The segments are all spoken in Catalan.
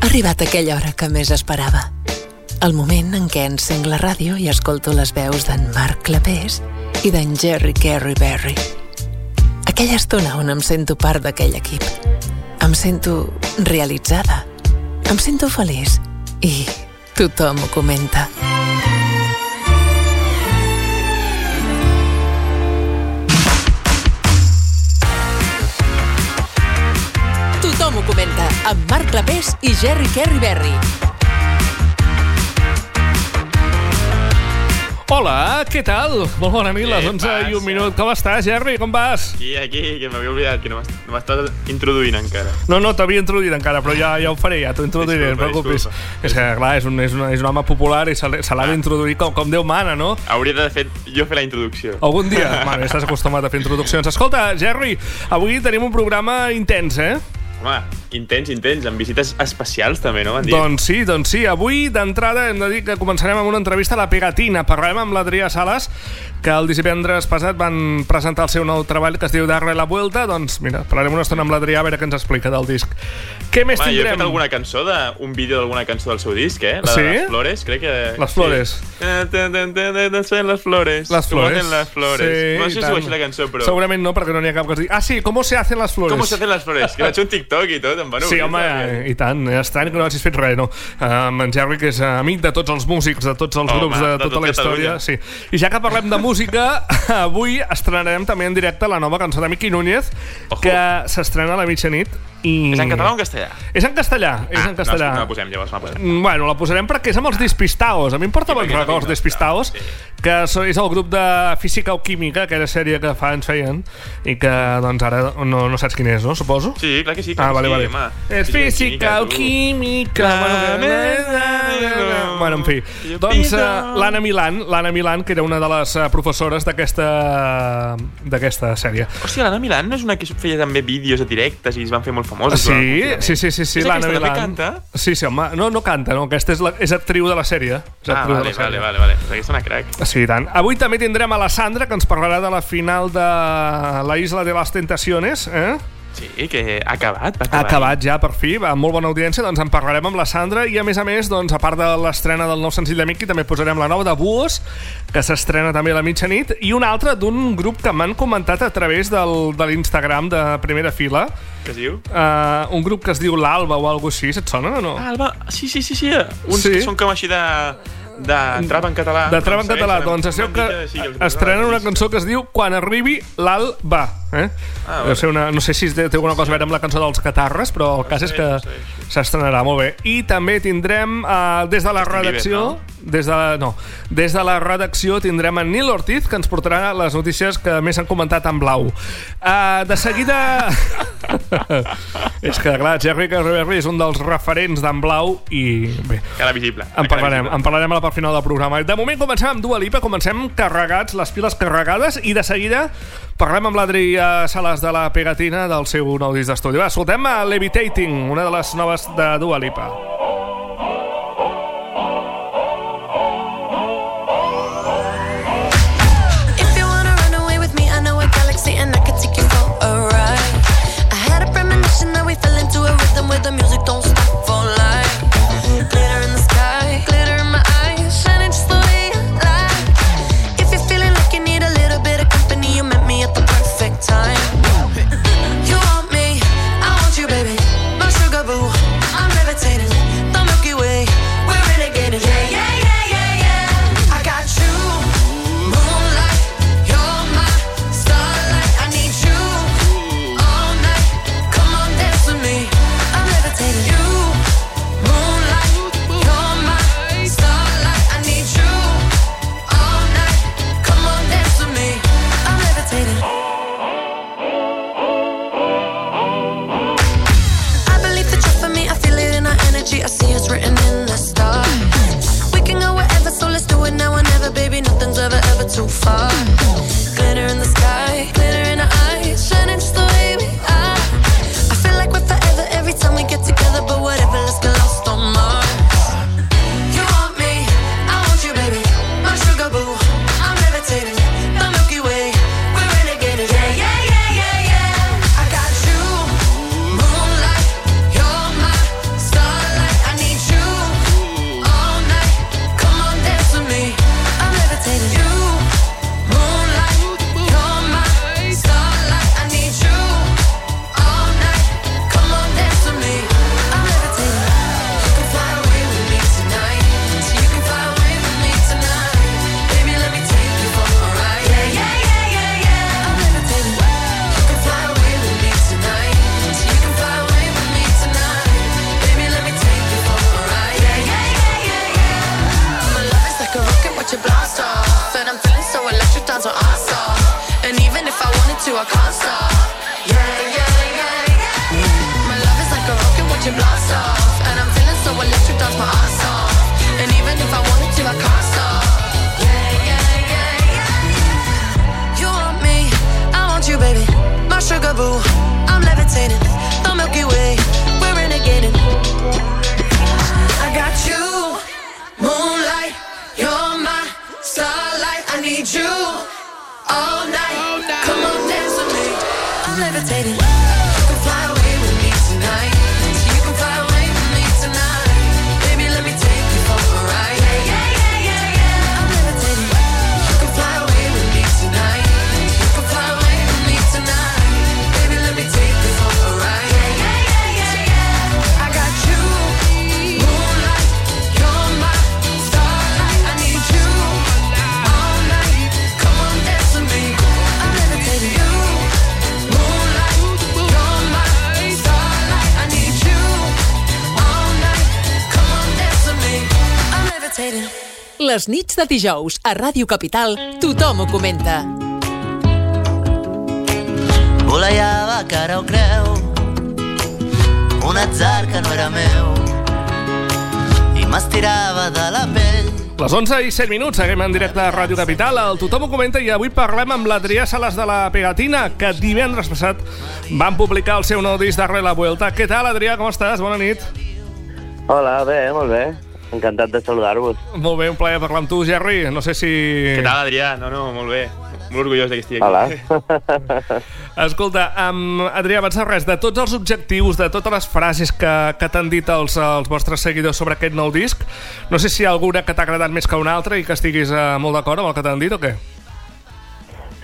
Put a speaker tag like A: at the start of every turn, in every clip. A: arribat aquella hora que més esperava. El moment en què encenc la ràdio i escolto les veus d'en Marc Clapés i d'en Jerry Carey Berry. Aquella estona on em sento part d'aquell equip. Em sento realitzada. Em sento feliç. I tothom ho comenta. Tothom ho comenta amb Marc Clapés i Jerry Carey Berry.
B: Hola, què tal? Molt bona nit, les
C: Què
B: 11 i un
C: passa?
B: minut. Com estàs, Jerry? Com vas?
C: Aquí, aquí, que m'havia oblidat, que no m'has- no m'estàs introduint encara.
B: No, no, t'havia introduït encara, però ja, ja ho faré, ja t'ho introduiré, no et
C: Disculpa,
B: preocupis.
C: disculpa.
B: És que, clar, és un, és un, és un home popular i se l'ha se l'ha d'introduir com, com Déu mana, no?
C: Hauria de fer jo fer la introducció.
B: Algun dia, bueno, ja estàs acostumat a fer introduccions. Escolta, Jerry, avui tenim un programa intens, eh?
C: Home, intens, intens, amb visites especials també, no? M'han dit.
B: Doncs sí, doncs sí. Avui, d'entrada, hem de dir que començarem amb una entrevista a la Pegatina. Parlarem amb l'Adrià Sales, que el divendres passat van presentar el seu nou treball que es diu Darle la Vuelta. Doncs mira, parlarem una estona amb l'Adrià a veure què ens explica del disc. Què més
C: Home, jo he fet
B: tindrem?
C: alguna cançó, de, un vídeo d'alguna cançó del seu disc, eh? La
B: Sí?
C: de les Flores, crec que...
B: Les Flores.
C: Sí. Eh, te- te- te- te- te- te- Les Flores.
B: Les
C: Com
B: flores.
C: hacen les Flores.
B: Sí,
C: no sé
B: i
C: si ho
B: tant.
C: així la cançó, però...
B: Segurament no, perquè no n'hi ha cap que es digui... Ah, sí, com se hacen les flores?
C: Com se hacen les flores? Que vaig fer un TikTok i tot, em van
B: Sí, home,
C: oblidar.
B: i tant. Estrany que no hagis fet res, no? Eh, en Jerry, que és eh, amic de tots els músics, de tots els
C: Home,
B: grups, de,
C: de
B: tota
C: tot
B: la història.
C: Catalunya.
B: Sí. I ja que parlem de música, avui estrenarem també en directe la nova cançó de Miqui Núñez,
C: Ojo.
B: que s'estrena a la mitjanit. I...
C: És en català o en castellà?
B: És en castellà, és en castellà.
C: Ah, No, no la posem, llavors no la posem.
B: Mm, Bueno, la posarem perquè és amb els Despistaos. A mi em porta
C: Sí,
B: bons
C: perquè no
B: records,
C: tinc-
B: Despistaos,
C: sí.
B: que so- és el grup de física o química, aquella sèrie que fa ens feien, i que doncs ara no, no saps quin és, no? Suposo?
C: Sí, clar que sí. clar
B: Ah,
C: que
B: vale,
C: sí,
B: vale.
C: home.
B: És física o
C: tu.
B: química. Bueno, que- Bueno, en fi.
C: Yo
B: Doncs eh,
C: pido.
B: l'Anna Milan, l'Anna Milan, que era una de les eh, professores d'aquesta d'aquesta sèrie.
C: Hòstia, l'Anna Milan no és una que feia també vídeos de directes i es van fer molt famosos?
B: Sí, sí, sí, sí, sí
C: és
B: l'Anna
C: aquesta
B: Milan.
C: que canta?
B: Sí, sí, home. No, no canta, no. Aquesta és, la, és actriu de la sèrie. És
C: Ah,
B: actriu de
C: vale,
B: la sèrie.
C: vale, vale, vale. Doncs Aquesta és una crac.
B: Sí, i tant. Avui també tindrem a la Sandra, que ens parlarà de la final de la Isla de les Tentaciones, eh?
C: Sí, que ha acabat, va
B: Ha
C: acabar.
B: acabat ja, per fi, va, amb molt bona audiència, doncs en parlarem amb la Sandra i, a més a més, doncs, a part de l'estrena del nou senzill de Mickey, també posarem la nova de Buos, que s'estrena també a la mitjanit, i una altra d'un grup que m'han comentat a través del, de l'Instagram de primera fila,
C: Què es diu?
B: uh, un grup que es diu l'Alba o alguna així, et sonen o no?
C: Ah, Alba... Sí, sí, sí, sí. Uns
B: Sí.
C: que són com així de... De trap en català.
B: De trava en català, doncs es
C: això
B: veu que estrenen una cançó que es diu Quan arribi l'alba. Eh?
C: Ah,
B: Deu
C: vale.
B: ser una, no sé si té alguna cosa a veure amb la cançó dels catarres, però el cas és
C: sé,
B: que
C: no sé, sí.
B: s'estrenarà molt bé. I també tindrem, eh, des de la
C: Justin Bieber,
B: redacció...
C: no?
B: Des de, la, no, des de la redacció tindrem en Nil Ortiz, que ens portarà les notícies que més han comentat en blau. Uh, de seguida... és que, clar, Jerry Carreberry és un dels referents d'en blau i, bé,
C: Cara visible.
B: en
C: cara
B: parlarem,
C: visible.
B: en parlarem a la part final del programa. De moment comencem amb Dua Lipa, comencem carregats, les piles carregades, i de seguida parlem amb l'Adrià Sales de la Pegatina del seu nou disc d'estudi. Va, escoltem a Levitating, una de les noves de Dua Lipa.
D: If you wanna run away with me, I know a galaxy and I can take you for a ride. I had a premonition that we fell into a rhythm where the music don't stop for life. Glitter in the sky, glitter in my eyes, shining just the way I like. If you're feeling like you need a little bit of company, you met me at the perfect time. You want me, I want you, baby. My sugar boo, I'm levitating.
A: Les nits de dijous a Ràdio Capital tothom ho comenta.
E: Volejava, cara o creu, un atzar que no era meu i m'estirava de la pell.
B: Les 11 i 7 minuts, seguim en directe a Ràdio Capital. El Tothom ho comenta i avui parlem amb l'Adrià Sales de la Pegatina, que divendres passat van publicar el seu nou disc darrere la Vuelta. Què tal, Adrià? Com estàs? Bona nit.
F: Hola, bé, molt bé. Encantat de saludar-vos.
B: Molt bé, un plaer parlar amb tu, Gerri. No sé si...
C: Què tal, Adrià? No, no, molt bé. Molt orgullós de que estigui aquí.
F: Hola.
B: Escolta, um, Adrià, abans de res, de tots els objectius, de totes les frases que, que t'han dit els, els vostres seguidors sobre aquest nou disc, no sé si hi ha alguna que t'ha agradat més que una altra i que estiguis uh, molt d'acord amb el que t'han dit o què?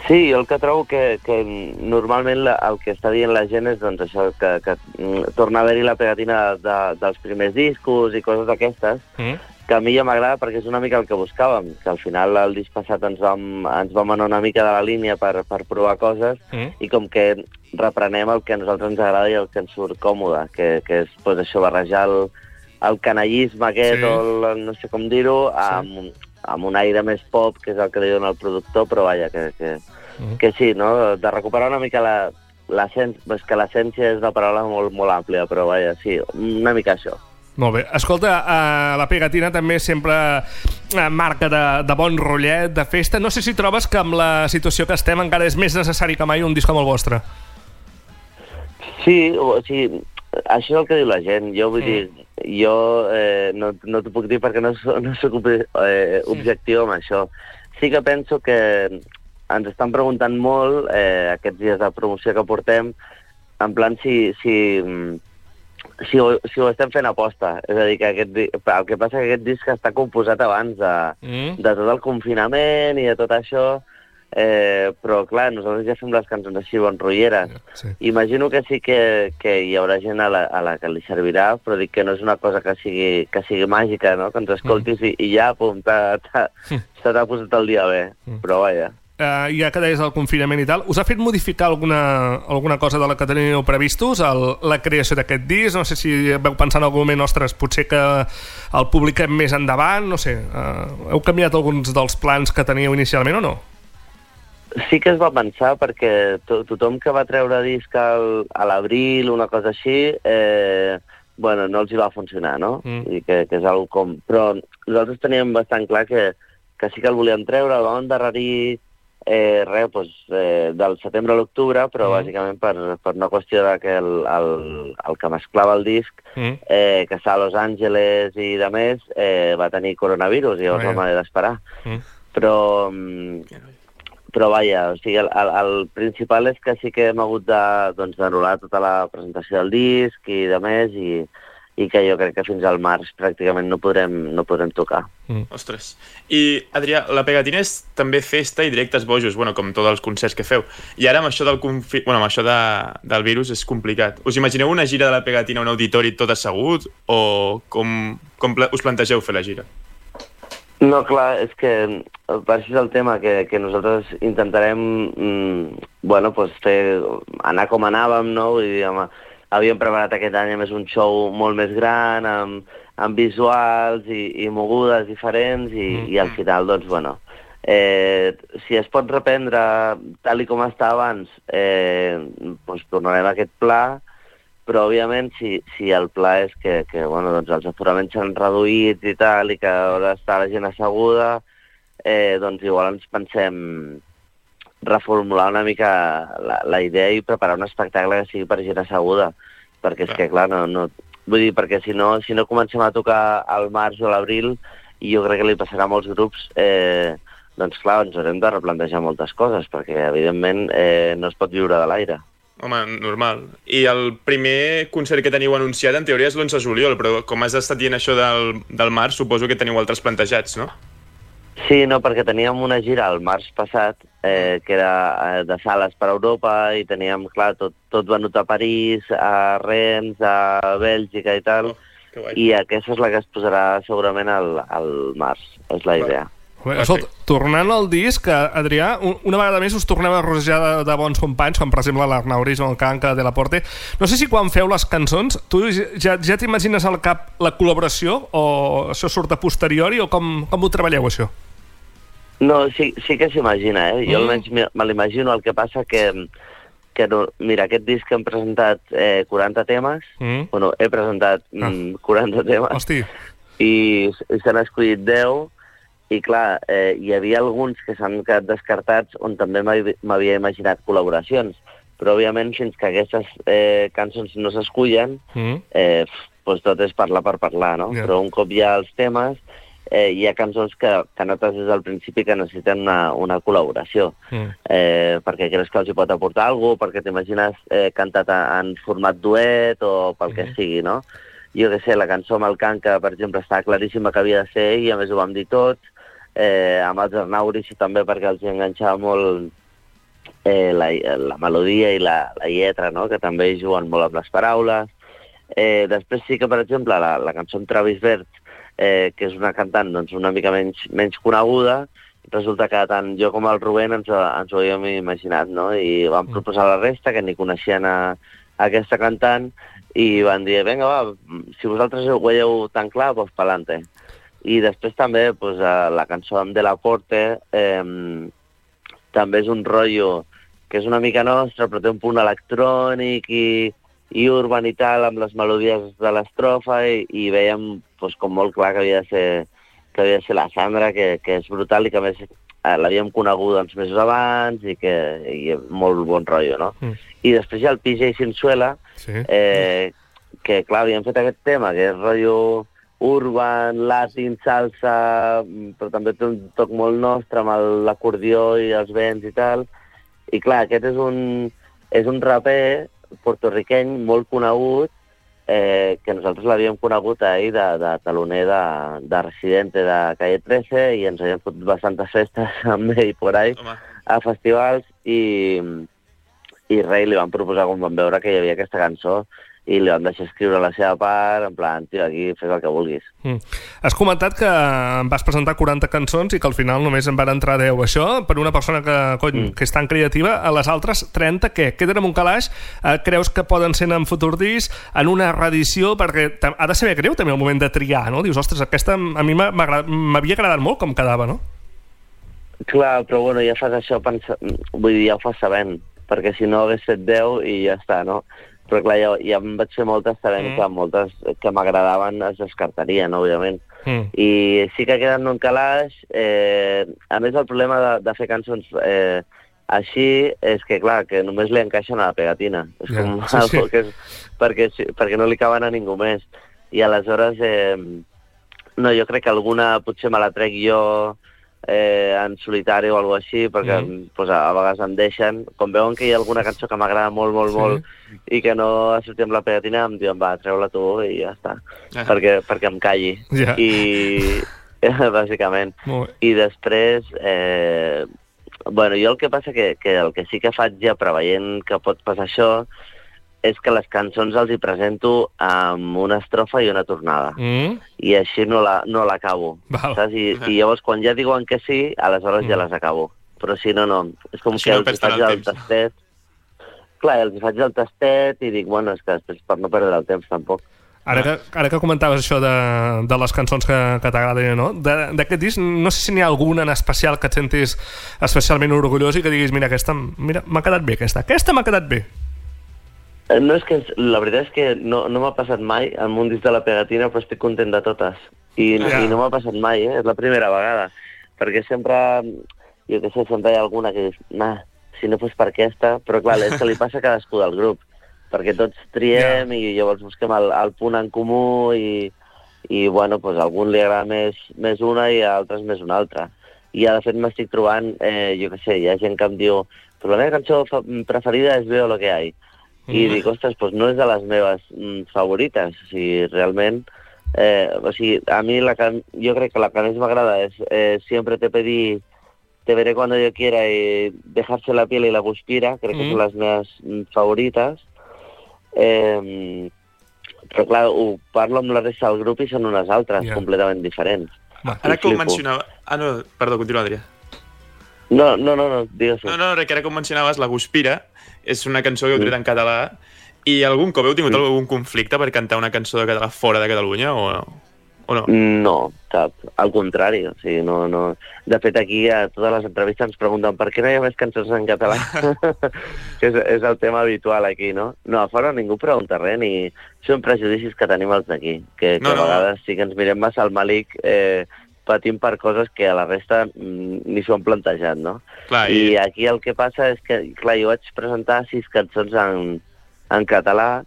F: Sí, jo el que trobo que, que normalment la, el que està dient la gent és doncs, això, que, que mm, torna a haver-hi la pegatina de, de, dels primers discos i coses d'aquestes,
B: Mm?
F: que a mi ja m'agrada perquè és una mica el que buscàvem, que al final el disc passat ens vam, ens vam anar una mica de la línia per, per provar coses
B: Mm.
F: i com que reprenem el que a nosaltres ens agrada i el que ens surt còmode, que, que és pues, això, barrejar el, el canallisme aquest
B: Sí.
F: sí. o el, no sé com dir-ho amb, amb un aire més pop, que és el que li dona el productor, però vaja, que, que,
B: Mm.
F: que sí, no? de recuperar una mica la, l'essència, és que l'essència és una paraula molt, molt àmplia, però vaja, sí, una mica això.
B: Molt bé. Escolta, uh, la pegatina també sempre uh, marca de, de bon rotllet, de festa. No sé si trobes que amb la situació que estem encara és més necessari que mai un disc com el vostre.
F: Sí, o sigui, això és el que diu la gent. Jo vull dir, jo eh, no, no t'ho puc dir perquè no, so- no soc obje- eh, objectiu amb això. Sí que penso que ens estan preguntant molt eh, aquests dies de promoció que portem, en plan si, si, si, ho, si ho estem fent aposta. És a dir, que aquest, di- el que passa és que aquest disc està composat abans de,
G: Mhm.
B: Mm?
F: de tot el confinament i de tot això, eh, però clar, nosaltres ja fem les cançons així bon rotlleres.
B: Sí.
F: Imagino que sí que, que hi haurà gent a la, a la que li servirà, però dic que no és una cosa que sigui, que sigui màgica, no? Que ens escoltis mm. i, i ja, pum, t'ha- t'ha- se t'ha posat el dia bé. Mm. Però vaja.
B: Uh, ja que deies del confinament i tal, us ha fet modificar alguna, alguna cosa de la que teníeu previstos, el, la creació d'aquest disc? No sé si veu pensar en algun moment, ostres, potser que el publiquem més endavant, no sé. Uh, heu canviat alguns dels plans que teníeu inicialment o no?
F: Sí que es va pensar perquè to tothom que va treure disc al, a l'abril, una cosa així, eh, bueno, no els hi va funcionar, no?
B: Mm.
F: Mm. I que, que és algo com... Però nosaltres teníem bastant clar que, que sí que el volíem treure, el vam endarrerir eh, res, doncs, eh, del setembre a l'octubre, però
B: Mm.
F: mm. bàsicament per, per una qüestió de que el, el, el que mesclava el disc,
B: Mm?
F: eh, que està a Los Angeles i de més, eh, va tenir coronavirus i llavors
B: Vaja.
F: vam haver d'esperar
B: Mm?
F: però, mm, però vaja, o sigui, el, el, el principal és que sí que hem hagut de, doncs, d'anul·lar tota la presentació del disc i de més, i, i que jo crec que fins al març pràcticament no podrem, no podrem tocar.
C: Ostres. I, Adrià, la pegatina és també festa i directes bojos, bueno, com tots els concerts que feu. I ara amb això del, confi... bueno, amb això de, del virus és complicat. Us imagineu una gira de la pegatina a un auditori tot assegut o com, com pla- us plantegeu fer la gira?
F: No, clar, és que eh, per això és el tema, que, que nosaltres intentarem mm, bueno, pues fer, anar com anàvem, no? Vull dir, home, havíem preparat aquest any a més un show molt més gran, amb, amb visuals i, i mogudes diferents, i, mm. i al final, doncs, bueno, eh, si es pot reprendre tal i com està abans, eh, doncs tornarem a aquest pla, però òbviament si, si el pla és que, que bueno, doncs els aforaments s'han reduït i tal, i que haurà d'estar la gent asseguda, eh, doncs igual ens pensem reformular una mica la, la idea i preparar un espectacle que sigui per gent asseguda, perquè és que, clar, no, no, vull dir, perquè si no, si no comencem a tocar al març o a l'abril, i jo crec que li passarà a molts grups, eh, doncs clar, ens haurem de replantejar moltes coses, perquè evidentment eh, no es pot viure de l'aire.
C: Home, normal. I el primer concert que teniu anunciat, en teoria, és l'11 de juliol, però com has estat dient això del, del març, suposo que teniu altres plantejats, no?
F: Sí, no, perquè teníem una gira el març passat, eh, que era eh, de sales per Europa, i teníem, clar, tot, tot venut a París, a Rennes, a Bèlgica i tal,
C: Que guai.
F: i aquesta és la que es posarà segurament al, al març, és la idea.
B: Bé, escolta, tornant al disc, eh, Adrià, un- una vegada més us tornem a rosejar de, de bons companys, com per exemple l'Arnauris o el Canca de la Porte. No sé si quan feu les cançons, tu ja, ja t'imagines al cap la col·laboració o això surt a posteriori o com, com ho treballeu, això?
F: No, sí, sí que s'imagina, eh? Jo mm. almenys me- me l'imagino, el que passa que, que no, mira, aquest disc que hem presentat eh, 40 temes,
B: Mm?
F: bueno, he presentat
B: Ah.
F: mm, 40 temes,
B: Hosti,
F: i, s- i se n'ha escollit 10, i clar, eh, hi havia alguns que s'han quedat descartats on també m'havi- m'havia imaginat col·laboracions, però òbviament fins que aquestes eh, cançons no s'escullen,
B: mm?
F: eh, doncs tot és parlar per parlar, no?
B: Ja.
F: Yeah. Però un cop hi ha els temes, eh, hi ha cançons que, que notes des del principi que necessiten una, una col·laboració,
B: Mm.
F: eh, perquè creus que els hi pot aportar alguna cosa, perquè t'imagines eh, cantat a- en format duet o pel que
B: Mhm.
F: sigui, no? Jo que sé, la cançó amb el Canca, per exemple, està claríssima que havia de ser ell, i a més ho vam dir tots, eh, amb els Arnauris també perquè els hi enganxava molt eh, la, la melodia i la, la lletra, no? que també juguen molt amb les paraules. Eh, després sí que, per exemple, la, la cançó amb Travis Bert, eh, que és una cantant doncs, una mica menys, menys coneguda, resulta que tant jo com el Rubén ens, ens ho havíem imaginat, no? I vam proposar a la resta, que ni coneixien a, a aquesta cantant, i van dir, vinga, va, si vosaltres ho veieu tan clar, doncs pa'lante. I després també pues, eh, la cançó amb De La Porte eh, també és un rotllo que és una mica nostre, però té un punt electrònic i, i urban i tal, amb les melodies de l'estrofa, i, i veiem pues, com molt clar que havia de ser, que havia de ser la Sandra, que, que és brutal i que a més eh, l'havíem coneguda uns mesos abans i que i molt bon rotllo, no?
B: Mm.
F: I després hi ha el PJ Sinsuela,
B: Sí.
F: eh, que clar, havíem fet aquest tema, que és rotllo urban, latin, salsa, mm, però també té un toc molt nostre amb el- l'acordió i els vents i tal. I clar, aquest és un, és un raper portorriqueny molt conegut, eh, que nosaltres l'havíem conegut ahir de, de taloner de, de Residente de Calle 13 i ens havíem fotut bastantes festes amb ell por ahí
C: Home,
F: a festivals i, i rei li van proposar quan van veure que hi havia aquesta cançó i li van deixar escriure la seva part, en plan, tio, aquí fes el que vulguis.
B: Mm. Has comentat que vas presentar 40 cançons i que al final només en van entrar 10. Això, per una persona que, cony, mm. que és tan creativa, a les altres 30, què? Queden en un calaix? Eh, creus que poden ser en futur disc, en una reedició? Perquè ta- ha de saber greu també el moment de triar, no? Dius, ostres, aquesta a mi m'ha- m'agra- m'havia agradat molt com quedava, no?
F: Clar, però bueno, ja fas això pensa... vull dir, ja ho fas sabent, perquè si no hagués fet 10 i ja està, no? Però clar, ja, ja em vaig fer moltes sabent
B: Mm.
F: mm. que moltes que m'agradaven es descartarien, òbviament.
B: Mm.
F: i sí que queden en un calaix. Eh, a més, el problema de, de fer cançons eh, així és que, clar, que només li encaixen a la pegatina. És
B: Ja,
F: com
B: sí,
F: yeah, sí,
B: sí.
F: Que és, perquè, sí- perquè no li caben a ningú més. I aleshores, eh, no, jo crec que alguna potser me la trec jo eh, en solitari o alguna així, perquè
B: Mhm.
F: mm. pues, a, a vegades em deixen. Com veuen que hi ha alguna cançó que m'agrada molt, molt,
B: Sí.
F: sí. molt, i que no ha sortit amb la pegatina, em diuen, va, treu-la tu i ja està
C: Ah.
F: perquè, perquè em calli.
B: Ja.
F: I, bàsicament.
B: Molt bé.
F: I després, eh, bueno, jo el que passa que, que el que sí que faig ja preveient que pot passar això és que les cançons els hi presento amb una estrofa i una tornada.
B: Mm.
F: I així no la- no l'acabo.
B: Val.
F: La, saps? I, I llavors quan ja diuen que sí, aleshores ja les acabo. Però si no, no. És com
C: Així
F: que
C: no
F: els hi
C: perds tant
F: faig
C: el
F: el
C: temps.
F: tastet. Clar, els hi faig el tastet i dic, bueno, és que després per no perdre el temps tampoc.
C: Ah.
B: Ara que, ara que comentaves això de, de les cançons que, que t'agraden, no? De- D'aquest disc, no sé si n'hi ha alguna en especial que et sentis especialment orgullós i que diguis, mira, aquesta m- mira, m'ha quedat bé, aquesta, aquesta m'ha quedat bé.
F: Eh, No és que, la veritat és que no, no m'ha passat mai amb un disc de la pegatina, però estic content de totes. I,
B: Ja.
F: i no m'ha passat mai, eh? és la primera vegada. Perquè sempre, jo què sé, sempre hi ha alguna que dius, nah, si no fos per aquesta, però clar, és que li passa a cadascú del grup. Perquè tots triem i llavors busquem el, el punt en comú i, i bueno, pues, a algun li agrada més, més una i a altres més una altra. I ara, de fet, m'estic trobant, eh, jo què sé, hi ha gent que em diu però la meva cançó fa- preferida és Veo lo que hay. I dic, ostres, doncs no és de les meves mm, favorites. O sigui, realment... Eh, o sigui, a mi la que, jo crec que la que més m'agrada és eh, Siempre te pedí, te veré cuando yo quiera i Dejarse la piel i la guspira, crec mm. que
B: Mm.
F: són les meves mm, favorites. Eh, però clar, ho parlo amb la resta del grup i són unes altres,
B: Ja.
F: yeah. completament diferents.
B: Va,
C: Ara
F: I
C: que ho
F: flipo.
C: mencionava, Ah, no, perdó, continua, Adrià.
F: No, no, no, no digues-ho.
C: No, no, res, que ara com mencionaves, La Guspira és una cançó que heu
F: Mm.
C: tret en català i algun cop heu tingut algun conflicte per cantar una cançó de català fora de Catalunya o, o no?
F: No, cap. Al contrari, o sigui, no, no... De fet, aquí a totes les entrevistes ens pregunten per què no hi ha més cançons en català, que és, és el tema habitual aquí, no? No, a fora ningú pregunta res, ni... Són prejudicis que tenim els d'aquí, que, que
C: No,
F: no,
C: no.
F: a vegades sí que ens mirem massa al malic eh, patint per coses que a la resta mm, ni s'ho han plantejat, no?
C: Clar, i,
F: I aquí el que passa és que, clar, jo vaig presentar sis cançons en, en català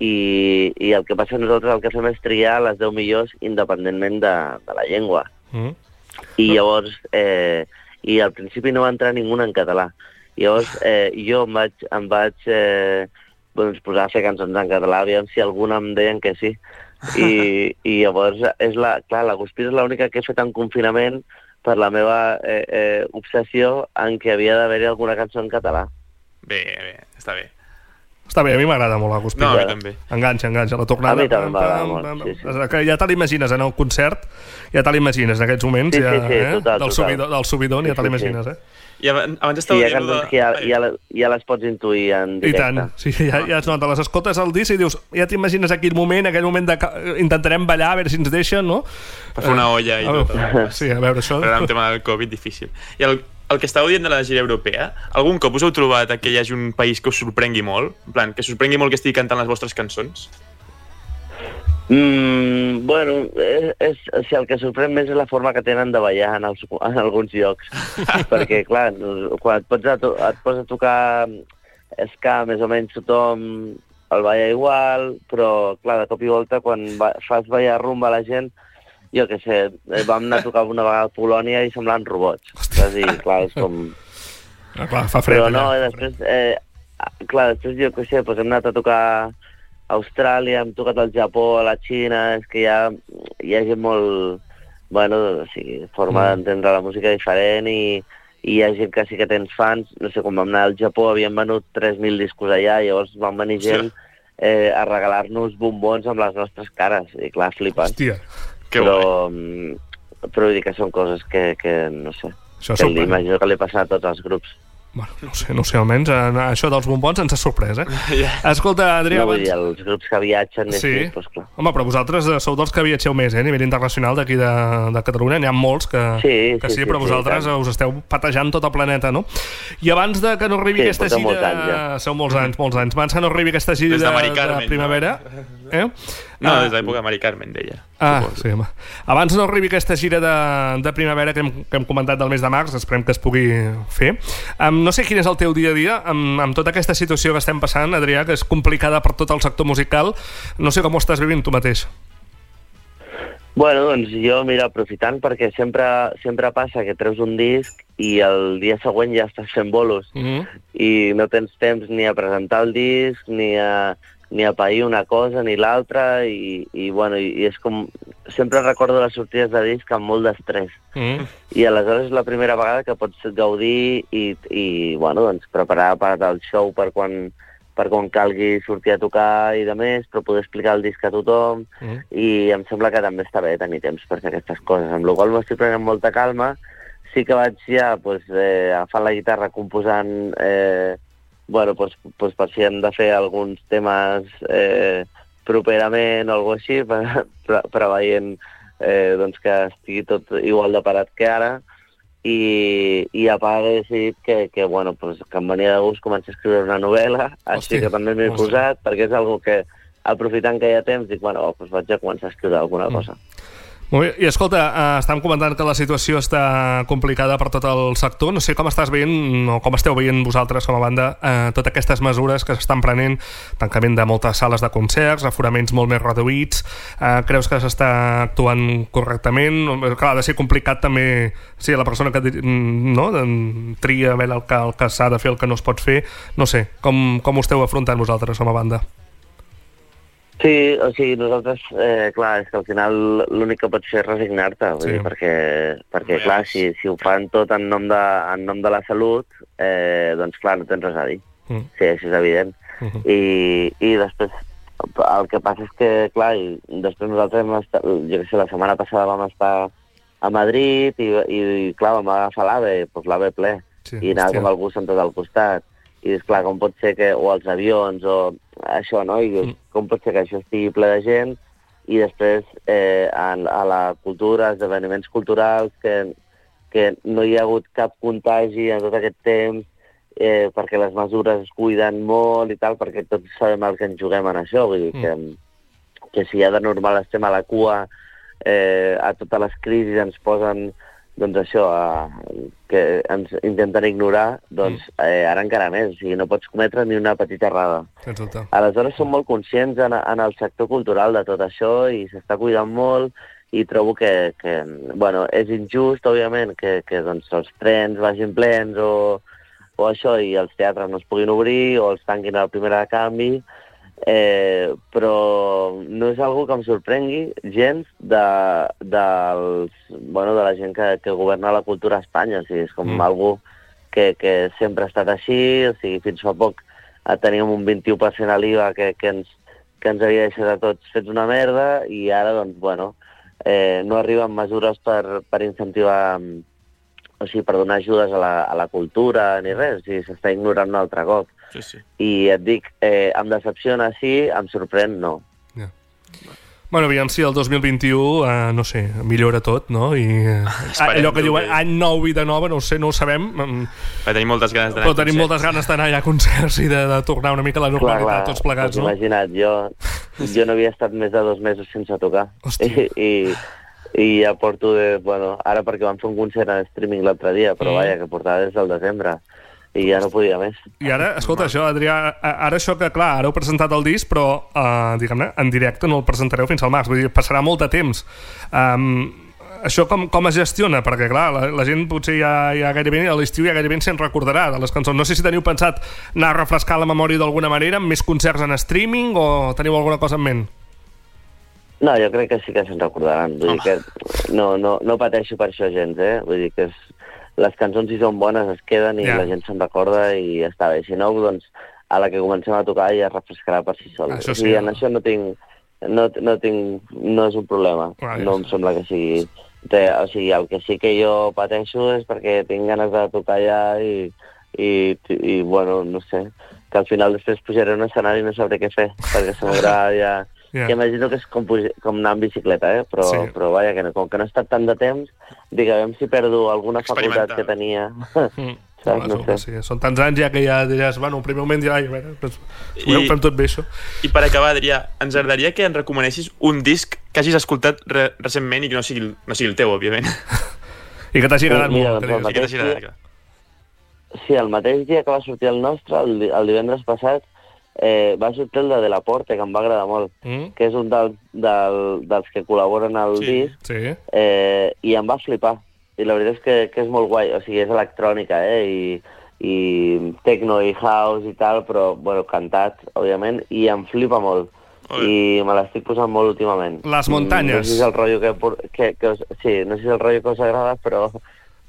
F: i, i el que passa nosaltres el que fem és triar les 10 millors independentment de, de la llengua.
B: Mm.
F: I llavors, eh, i al principi no va entrar ningú en català. Llavors eh, jo em vaig, em vaig eh, doncs, posar a fer cançons en català, aviam si alguna em deien que sí. I, i llavors, és la, clar, la Guspira és l'única que he fet en confinament per la meva eh, eh, obsessió en que havia d'haver-hi alguna cançó en català.
C: bé, bé, està bé.
B: Està bé, a mi m'agrada molt la Guspira.
C: No, a mi també.
B: Enganxa, enganxa, la tornada.
F: A mi també m'agrada molt, sí, sí.
B: Que ja te l'imagines en el concert, ja te l'imagines en aquests moments,
F: Sí, sí,
B: ja,
F: sí,
B: eh?
F: total,
B: del,
F: total.
B: subidon, del subidon,
F: Sí,
B: ja te
F: sí,
B: l'imagines,
F: sí.
B: eh?
C: I abans, abans
F: Sí,
C: estava
F: hi ha
C: dient
F: cançons que ja,
C: Ai,
F: ja, le- ja les pots intuir en
B: I
F: directe.
B: tant, sí, ja, ja es nota, les escoltes al disc i dius, ja t'imagines aquell moment, aquell moment de... ca- Intentarem ballar, a veure si ens deixen, no? Eh,
C: per fer una olla i
B: A
C: tot.
B: veure, sí, a veure això.
C: Però ara amb tema del Covid difícil. I el, el que estàveu dient de la gira europea, algun cop us heu trobat que hi hagi un país que us sorprengui molt? En plan, que sorprengui molt que estigui cantant les vostres cançons?
F: Mm, bueno, és, és, o sigui, el que sorprèn més és la forma que tenen de ballar en, els, en alguns llocs. Perquè, clar, no- quan et, pots a to, et pots a tocar ska, més o menys tothom el balla igual, però, clar, de cop i volta, quan ba fas ballar rumba a la gent, jo què sé, eh, vam anar a tocar una vegada a Polònia i semblaven robots. És a dir, clar, és com...
B: Ah, clar, fa fred.
F: Però no,
B: allà.
F: i després, eh, ah, clar, després jo que sé, doncs hem anat a tocar a Austràlia, hem tocat al Japó, a la Xina, és que hi ha, hi ha gent molt... Bueno, o sigui, forma
B: Mm.
F: d'entendre la música diferent i, i hi ha gent que sí que tens fans. No sé, quan vam anar al Japó havien venut 3.000 discos allà, llavors van venir gent
C: Hòstia.
F: eh, a regalar-nos bombons amb les nostres cares. I clar, flipes.
B: Hòstia,
C: Que guai.
F: però, mm, però vull dir que són coses que, que no sé,
B: això
F: que li-
B: sorprèn.
F: imagino que li passa a tots els grups.
B: Bueno, no ho sé, no ho sé, almenys eh, això dels bombons ens ha sorprès, eh?
C: Ja.
B: Escolta, Adrià,
F: No, vull
B: abans...
F: dir, els grups que viatgen, sí.
B: Sí.
F: doncs clar.
B: Home, però vosaltres eh, sou dels que viatgeu més, eh? A nivell internacional d'aquí de, de Catalunya n'hi ha molts que
F: Sí,
B: que
F: sí,
B: sí
F: sí,
B: però
F: sí,
B: vosaltres
F: i tant.
B: eh, us esteu patejant tot el planeta, no? I abans de que no arribi
F: Sí,
B: aquesta
F: portem
B: gira...
F: molts anys, ja.
B: Sou molts anys, molts anys. Abans que no arribi aquesta gira
C: Des de Mari
B: de,
C: Carmen,
B: de primavera... Eh?
C: No,
B: Ah,
C: des de l'època de Mari Carmen, deia.
B: Ah, sí, home. Abans no arribi aquesta gira de, de primavera que hem, que hem comentat del mes de març, esperem que es pugui fer. Um, no sé quin és el teu dia a dia amb, amb tota aquesta situació que estem passant, Adrià, que és complicada per tot el sector musical. No sé com ho estàs vivint tu mateix.
F: Bueno, doncs jo, mira, aprofitant, perquè sempre, sempre passa que treus un disc i el dia següent ja estàs fent bolos
B: Mm -hmm.
F: i no tens temps ni a presentar el disc, ni a, ni a pair una cosa ni l'altra i, i, bueno, i, i és com... Sempre recordo les sortides de disc amb molt d'estrès.
B: Mm.
F: I aleshores és la primera vegada que pots gaudir i, i bueno, doncs, preparar per al show per quan, per quan calgui sortir a tocar i de més, però poder explicar el disc a tothom.
B: Mm.
F: Mm. I em sembla que també està bé tenir temps per fer aquestes coses, amb la qual cosa m'estic prenent molta calma. Sí que vaig ja pues, eh, agafant la guitarra, composant... Eh, bueno, pues, pues, per si hem de fer alguns temes eh, properament o alguna així, per, pre preveient eh, doncs que estigui tot igual de parat que ara i, i a part he decidit que, que, bueno, pues, que em venia de gust començar a escriure una novel·la, així
B: Hòstia,
F: que també m'hi he
B: molt bé.
F: posat perquè és algo que aprofitant que hi ha temps dic, bueno, oh, pues vaig a començar a escriure alguna
B: Mm.
F: cosa.
B: Molt bé. I escolta, eh, estàvem comentant que la situació està complicada per tot el sector. No sé com estàs veient o com esteu veient vosaltres com a banda eh, totes aquestes mesures que s'estan prenent, tancament de moltes sales de concerts, aforaments molt més reduïts. Eh, creus que s'està actuant correctament? Eh, Clar, ha de ser complicat també si sí, la persona que di- mm, no, de- tria a veure el que, el que s'ha de fer, el que no es pot fer. No sé, com, com ho esteu afrontant vosaltres com a banda?
F: Sí, o sigui, nosaltres, eh, clar, és que al final l'únic que pots fer és resignar-te,
B: Sí.
F: sí. perquè, perquè
C: Res.
F: clar, si, si ho fan tot en nom de, en nom de la salut, eh, doncs clar, no tens res a dir.
B: Mm.
F: Sí, això és evident.
B: Mhm.
F: I, I després, el que passa és que, clar, i després nosaltres hem estat, jo què sé, la setmana passada vam estar a Madrid i, i, i clar, vam agafar l'AVE, doncs l'AVE ple,
B: Sí,
F: sí, i anava
B: hòstia.
F: com el bus amb tot al costat. I és clar, com pot ser que, o els avions, o això, no? I mm. com pot ser que això estigui ple de gent i després eh, a, a la cultura, esdeveniments culturals, que, que no hi ha hagut cap contagi en tot aquest temps, eh, perquè les mesures es cuiden molt i tal, perquè tots sabem el que ens juguem en això, vull dir que... Mm que si ja de normal estem a la cua, eh, a totes les crisis ens posen doncs això, a, que ens intenten ignorar, doncs eh, ara encara més, o sigui, no pots cometre ni una petita errada.
B: Sens dubte.
F: Aleshores som molt conscients en, en el sector cultural de tot això i s'està cuidant molt i trobo que, que bueno, és injust, òbviament, que, que doncs, els trens vagin plens o, o això i els teatres no es puguin obrir o els tanquin a la primera de canvi, eh, però no és algo que em sorprengui gens de, dels, bueno, de la gent que, que governa la cultura a Espanya. O sigui, és com
B: Mm.
F: mm. algo que, que sempre ha estat així, o sigui, fins fa poc eh, teníem un 21% a l'IVA que, que, ens, que ens havia deixat a tots fets una merda i ara, doncs, bueno, eh, no arriben mesures per, per incentivar, mm, o sigui, per donar ajudes a la, a la cultura ni res, o sigui, s'està ignorant un altre cop.
C: Sí, sí.
F: I et dic, eh, em decepciona sí, em sorprèn no.
B: Bueno, aviam si el 2021, eh, no sé, millora tot, no? I, eh,
C: Esperem
B: allò que
C: tu
B: diuen
C: que-
B: any nou, vida nova, no ho sé, no ho sabem, mm,
C: Va tenir moltes ganes d'anar
B: però tenim
C: a
B: moltes ganes d'anar allà a concerts i de, de tornar una mica a la normalitat tots plegats,
F: us
B: no?
F: Imagina't, jo, jo no havia estat més de dos mesos sense tocar.
B: Hòstia.
F: I, I ja porto de... Bueno, ara perquè vam fer un concert en streaming l'altre dia, però
B: Mm.
F: mm. vaja, que portava des del desembre. I ja no podia més.
B: I ara, escolta, això, Adrià, a- ara això que, clar, ara heu presentat el disc, però, eh, diguem-ne, en directe no el presentareu fins al març, vull dir, passarà molt de temps. Um, això com, com es gestiona? Perquè, clar, la, la gent potser ja, ja gairebé, a l'estiu ja gairebé se'n recordarà de les cançons. No sé si teniu pensat anar a refrescar la memòria d'alguna manera amb més concerts en streaming o teniu alguna cosa en ment?
F: No, jo crec que sí que se'n recordaran. Vull dir que no, no, no pateixo per això gens, eh? Vull dir que és, les cançons, si són bones, es queden i
B: Ja.
F: la gent se'n recorda i ja està bé. Si no, doncs, a la que comencem a tocar ja es refrescarà per si sol.
B: Això
F: o
B: sí, no?
F: sigui, en això no tinc... No, no, tinc, no és un problema.
B: Ah, ja està.
F: no em sembla que sigui... De, o sigui, el que sí que jo pateixo és perquè tinc ganes de tocar allà i, i, i bueno, no sé, que al final després pujaré a un escenari i no sabré què fer, perquè s'haurà ja...
B: Ja.
F: Yeah. Que imagino que és com, puja- com anar en bicicleta, eh? però,
B: Sí.
F: sí. però vaja, que no, com que no ha estat tant de temps, digue, a veure si perdo alguna
C: Experimental.
F: facultat que tenia.
B: Home,
F: Saps? No
B: segur que
F: sé.
B: sí. Són tants anys ja que ja diràs, bueno, el primer moment diràs, "Ai, a veure, doncs, I...
C: I-
B: fem tot bé, això.
C: I per acabar, Adrià, ens agradaria que ens recomanessis un disc que hagis escoltat re recentment i que no sigui, el- no sigui el teu, òbviament.
B: I que t'hagi agradat
F: Mira,
B: molt. que
F: doncs,
B: digues.
C: I que t'hagi agradat.
F: Sí, el mateix dia que va sortir el nostre, el, di- el divendres passat, eh, va sortir el de De La Porte, que em va agradar molt,
B: Mm?
F: que és un del, del, dels que col·laboren al
C: Sí.
F: sí. disc,
B: Sí.
F: eh, i em va flipar. I la veritat és que, que és molt guai, o sigui, és electrònica, eh, i, i techno i house i tal, però, bueno, cantat, òbviament, i em flipa molt.
C: Ole.
F: I me l'estic posant molt últimament.
B: Les
F: Mm,
B: muntanyes.
F: No sé si és el rotllo que, por- que, que us, sí, no sé si és el rotllo que us agrada, però,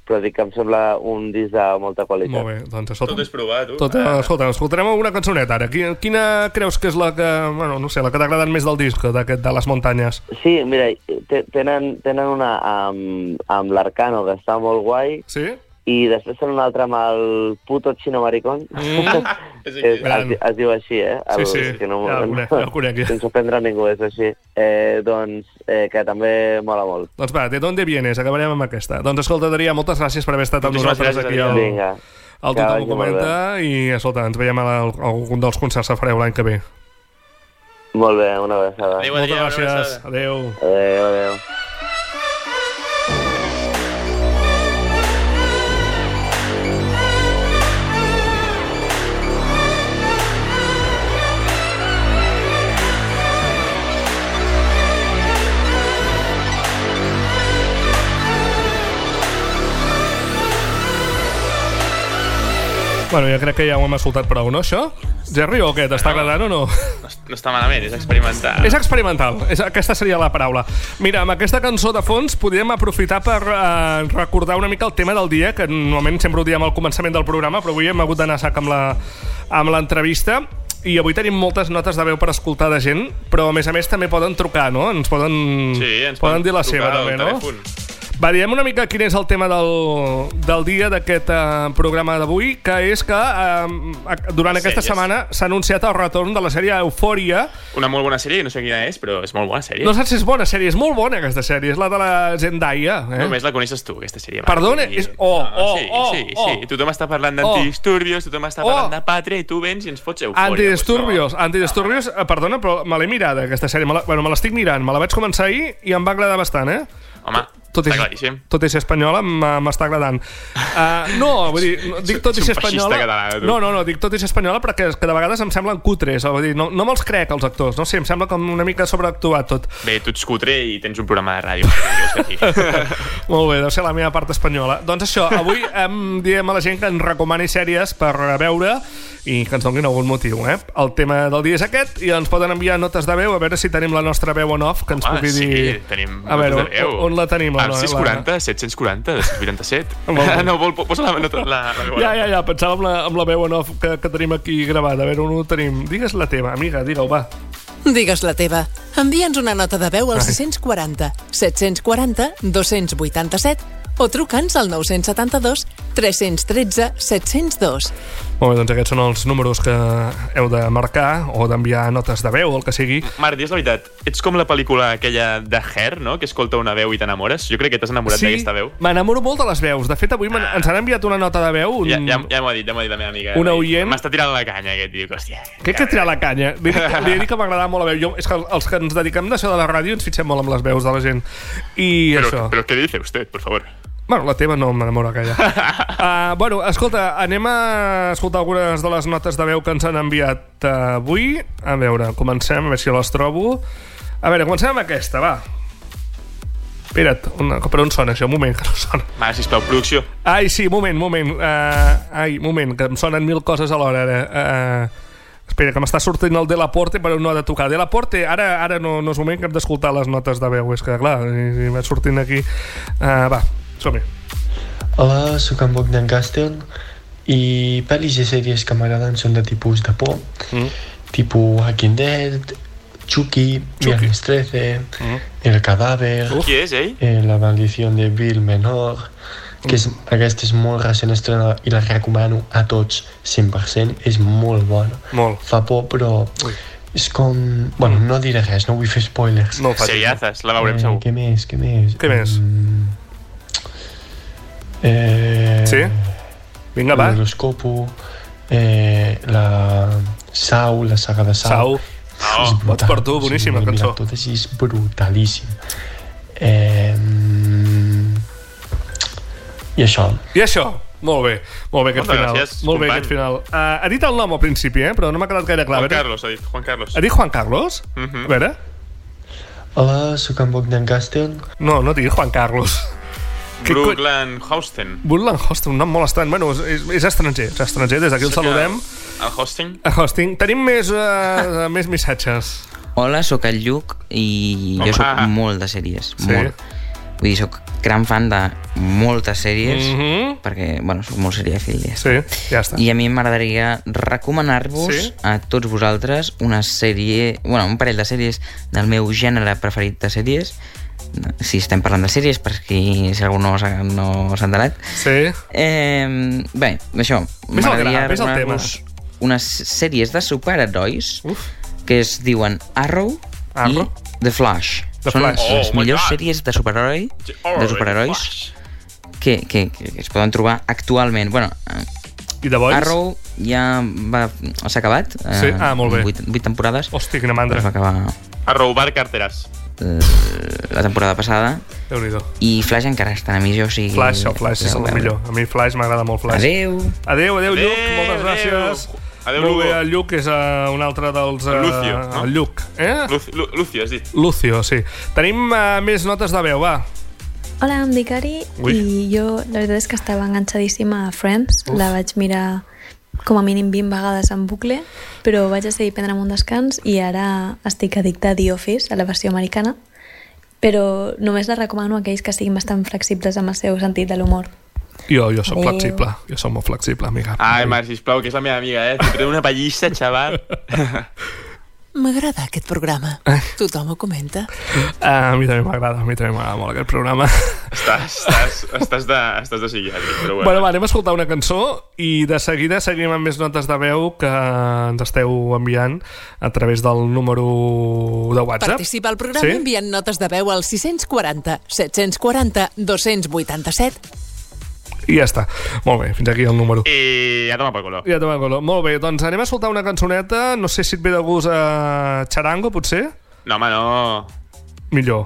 F: però dic que em sembla un disc de molta qualitat.
B: Molt bé, doncs escolta,
C: Tot és provar, tu.
B: Tot,
C: Ah.
B: eh, escolta, escoltarem alguna cançoneta ara. Quina, quina creus que és la que, bueno, no sé, la que t'ha agradat més del disc, d'aquest de les muntanyes?
F: Sí, mira, te- tenen, tenen una amb, amb l'Arcano, que està molt guai,
B: Sí?
F: i després tenen una altra amb el puto chino maricón.
B: Mm.
C: És increïble.
F: Es,
B: Gran.
F: es, es diu així, eh?
B: Sí, sí,
F: que no,
B: ja el conec, ja el conec, ja.
F: Sense ofendre ningú, és així. Eh, doncs, eh, que també mola molt.
B: Doncs va, de d'on vienes? Acabarem amb aquesta. Doncs escolta, Adrià, moltes gràcies per haver estat amb
C: Moltíssimes
B: nosaltres
C: gràcies,
B: aquí al,
F: Vinga.
B: al
F: Que
B: Tothom
F: vagi
B: ho
F: molt
B: comenta i escolta, ens veiem a la- a algun dels concerts que fareu l'any que ve.
F: Molt bé, una abraçada.
C: Adéu,
B: Moltes
C: Adrià, una
B: gràcies.
C: abraçada.
B: Adéu.
F: Adéu, adéu.
B: Bueno, jo crec que ja ho hem escoltat prou, no, això? Gerri, o què? T'està agradant o no?
C: No, es- no està malament, és experimentar.
B: Ah. És experimental, és, aquesta seria la paraula. Mira, amb aquesta cançó de fons podríem aprofitar per eh, recordar una mica el tema del dia, que normalment sempre ho diem al començament del programa, però avui hem hagut d'anar a sac amb la- amb l'entrevista. I avui tenim moltes notes de veu per escoltar de gent, però a més a més també poden trucar, no? Ens poden,
C: Sí, ens
B: poden dir la
C: trucar
B: seva,
C: al
B: també, no?
C: telèfon.
B: Va, diem una mica quin és el tema del, del dia d'aquest eh, programa d'avui, que és que eh, durant aquesta
C: Sèries.
B: setmana s'ha anunciat el retorn de la sèrie Eufòria.
C: Una molt bona sèrie, que no sé quina és, però és molt bona sèrie.
B: No saps si és bona sèrie, és molt bona aquesta sèrie, és la de la Zendaya. Eh?
C: Només la coneixes tu, aquesta sèrie.
B: Perdona,
C: Marc, i- Ah,
B: és- oh, oh,
C: sí,
B: oh,
C: sí,
B: oh.
C: sí. Tothom està parlant
B: Oh.
C: d'antidisturbios, tothom està
B: Oh.
C: parlant de pàtria, i tu vens i ens fots eufòria.
B: Antidisturbios,
C: Pues
B: no. Antidisturbios, eh, perdona, però me l'he mirada, aquesta sèrie. Me la, bueno, me l'estic mirant, me la vaig començar ahir i em va agradar bastant, eh?
C: no. Home,
B: Tot i,
C: està claríssim.
B: tot i ser espanyola m'ha- m'està agradant. Uh, no, vull dir, no, dic tot i
C: Ets un
B: ser
C: feixista
B: espanyola...
C: català, tu.
B: no, no, no, dic tot i ser espanyola perquè és que de vegades em semblen cutres, eh, vull dir, no, no me'ls crec, els actors, no sé, em sembla com una mica sobreactuat tot.
C: Bé, tu ets cutre i tens un programa de ràdio. què vols que et digui?
B: Molt bé, deu ser la meva part espanyola. Doncs això, avui em diem a la gent que ens recomani sèries per veure i que ens donin algun motiu, eh? El tema del dia és aquest i ens poden enviar notes de veu a veure si tenim la nostra veu en off que ens
C: Home,
B: pugui
C: Ah, sí,
B: dir...
C: tenim...
B: a veure,
C: molta veu. Ah,
B: on, on la tenim? la-
C: Al
B: la-
C: 640, 740, 787.
B: Molt bé.
C: Ah, no, vol, posa la, la, la, la
B: Ja, ja, ja, pensava amb la, amb la veu en off que, que tenim aquí gravada. A veure, on ho tenim? Digues la teva, amiga, digue-ho, va.
A: Digues la teva. Envia'ns una nota de veu al 640 740 287 o truca'ns al 972 313 702.
B: Molt bé, doncs aquests són els números que heu de marcar o d'enviar notes de veu, el que sigui.
C: Marc, digues la veritat, ets com la pel·lícula aquella de Her, no?, que escolta una veu i t'enamores. Jo crec que t'has enamorat d'aquesta veu.
B: m'enamoro molt de les veus. De fet, avui me- ens han enviat una nota de veu. Un...
C: Ja, ja, ja m'ho ha dit, ja m'ho ha dit la meva amiga.
B: Un
C: M'ha dit,
B: oient.
C: M'està tirant la canya, aquest tio, que, hòstia.
B: Crec que tirar la canya. Li, dic- li he dit que m'agradava molt la veu. Jo, és que els que ens dediquem d'això de la ràdio ens fitxem molt amb les veus de la gent. I
C: Però,
B: això...
C: però què dice usted, por favor?
B: Bueno, la teva no m'enamora gaire. uh, bueno, escolta, anem a escoltar algunes de les notes de veu que ens han enviat uh, avui. A veure, comencem, a veure si les trobo. A veure, comencem amb aquesta, va. Espera't, una, però on sona això? Un moment, que no sona.
C: Marc, sisplau, producció.
B: Ai, sí, moment, moment. Uh, ai, moment, que em sonen mil coses alhora, ara. Uh, espera, que m'està sortint el de la Porte, però no ha de tocar. De la Porte, ara, ara no, no és moment que hem d'escoltar les notes de veu. És que, clar, i- i va sortint aquí... Uh, va, som-hi.
H: Hola, sóc en Bogdan Castel i pel·lis i sèries que m'agraden són de tipus de por, mm. tipus Hacking Dead, Chucky, Viernes 13,
B: Mm.
H: El Cadàver,
C: Uf. Qui és, ell?
H: eh, La Maldició de Bill Menor, que és,
B: Mm.
H: aquesta és molt recent estrenada i la recomano a tots 100%, és molt bona.
B: Molt.
H: Fa por, però
B: Ui. Mm.
H: és com... Bueno, no diré res, no vull fer spoilers.
B: No ho facis.
C: Seriazas, la veurem
H: Eh,
C: segur.
H: Què més, què més?
B: Què més?
H: Mm. Eh...
B: Sí? Vinga, va.
H: L'horoscopo, eh, la Sau, la saga de Sau.
B: Sau.
H: És
C: Oh,
H: brutal.
B: vots per tu, boníssima
H: mira,
B: cançó.
H: Tot així és brutalíssim. Eh, mm, I això.
B: I això. Molt bé, molt bé aquest
C: Moltes
B: final.
C: gràcies,
B: molt bé
C: company.
B: aquest final. Uh, ha dit el nom al principi, eh? però no m'ha quedat gaire clar. A
C: Juan
B: veure-
C: Carlos, ha dit, Juan Carlos.
B: Ha dit Juan Carlos?
C: Mhm.
B: A veure...
H: Hola, sóc en Bogdan Castel.
B: No, no digui Juan Carlos. Que co-
C: Brooklyn Housten.
B: Woodland Hosting, un nom molt estrany. Bueno, és- és, és estranger, és estranger. Des d'aquí el saludem.
C: El hosting?
B: A Hosting. Tenim més, uh, més missatges.
I: Hola, sóc el Lluc i
C: Home.
I: jo sóc molt de sèries,
B: Sí.
I: molt. Vull dir, sóc gran fan de moltes sèries, mm
B: Mhm.
I: -hmm. perquè, bueno, sóc molt serièfil, ja.
B: Sí, ja està.
I: I a mi m'agradaria recomanar-vos
B: Sí.
I: sí? a tots vosaltres una sèrie, bueno, un parell de sèries del meu gènere preferit de sèries, si estem parlant de sèries, perquè si algú no s'ha no s'ha enterat.
B: Sí.
I: Eh, bé, això,
B: Ves al gra,
I: m'agradaria
B: ves al tema.
I: recomanar-vos unes sèries de superherois
B: Uf.
I: que es diuen Arrow,
B: Arrow.
I: i The Flash.
B: The
I: Són
B: Flash.
I: les
C: Oh my
I: millors
C: God.
I: sèries de superheroi de superherois
C: Flash.
I: que, que, que es poden trobar actualment. Bueno, eh,
B: I de bois?
I: Arrow ja va s'ha acabat. eh,
B: Sí? Ah, molt bé.
I: 8, 8 temporades.
B: Hosti, quina
I: Es va
B: mandra.
I: acabar
C: A robar carteres.
I: eh, la temporada passada.
B: Déu-n'hi-do.
I: I Flash encara està a millor, o sigui...
B: Flash, el Flash és el
I: podeu veure.
B: millor. A mi Flash m'agrada molt Flash.
I: Adeu!
B: Adéu, adéu, Lluc.
C: Adéu,
B: Moltes
C: adéu.
B: gràcies.
C: Adéu,
B: Molt bé,
C: Lugo.
B: el Lluc és uh, un altre dels... Uh,
C: Lucio, no?
B: El Lluc. Eh?
C: Luci- Lu- Lucio, has dit.
B: Lucio, sí. Tenim uh, més notes de veu, va.
J: Hola, em dic Ari
B: Ui.
J: i jo la veritat és que estava enganxadíssima a Friends. Uf. La vaig mirar com a mínim 20 vegades en bucle, però vaig decidir prendre'm un descans i ara estic addicta a The Office, a la versió americana, però només la recomano a aquells que siguin bastant flexibles amb el seu sentit de l'humor.
B: Jo, jo sóc
J: Adéu.
B: flexible. Jo sóc molt flexible, amiga.
C: Ai, Marc, sisplau, que és la meva amiga, eh? T'he tret una pallissa, xaval.
A: M'agrada aquest programa. Tothom ho comenta.
B: Ah, a mi també m'agrada, a mi també m'agrada molt aquest programa.
C: Estàs, estàs, estàs, de, estàs de psiquiàtric, però bueno.
B: Bueno, va, anem a escoltar una cançó i de seguida seguim amb més notes de veu que ens esteu enviant a través del número de WhatsApp.
A: Participa al programa sí? enviant notes de veu al 640 740 287.
B: I ja està. Molt bé, fins aquí el número.
C: I Eh, ja toma pel color.
B: Ja te'n recordo. Molt bé, doncs anem a escoltar una cançoneta. No sé si et ve de gust a Charango, potser?
C: No, home, no.
B: Millor.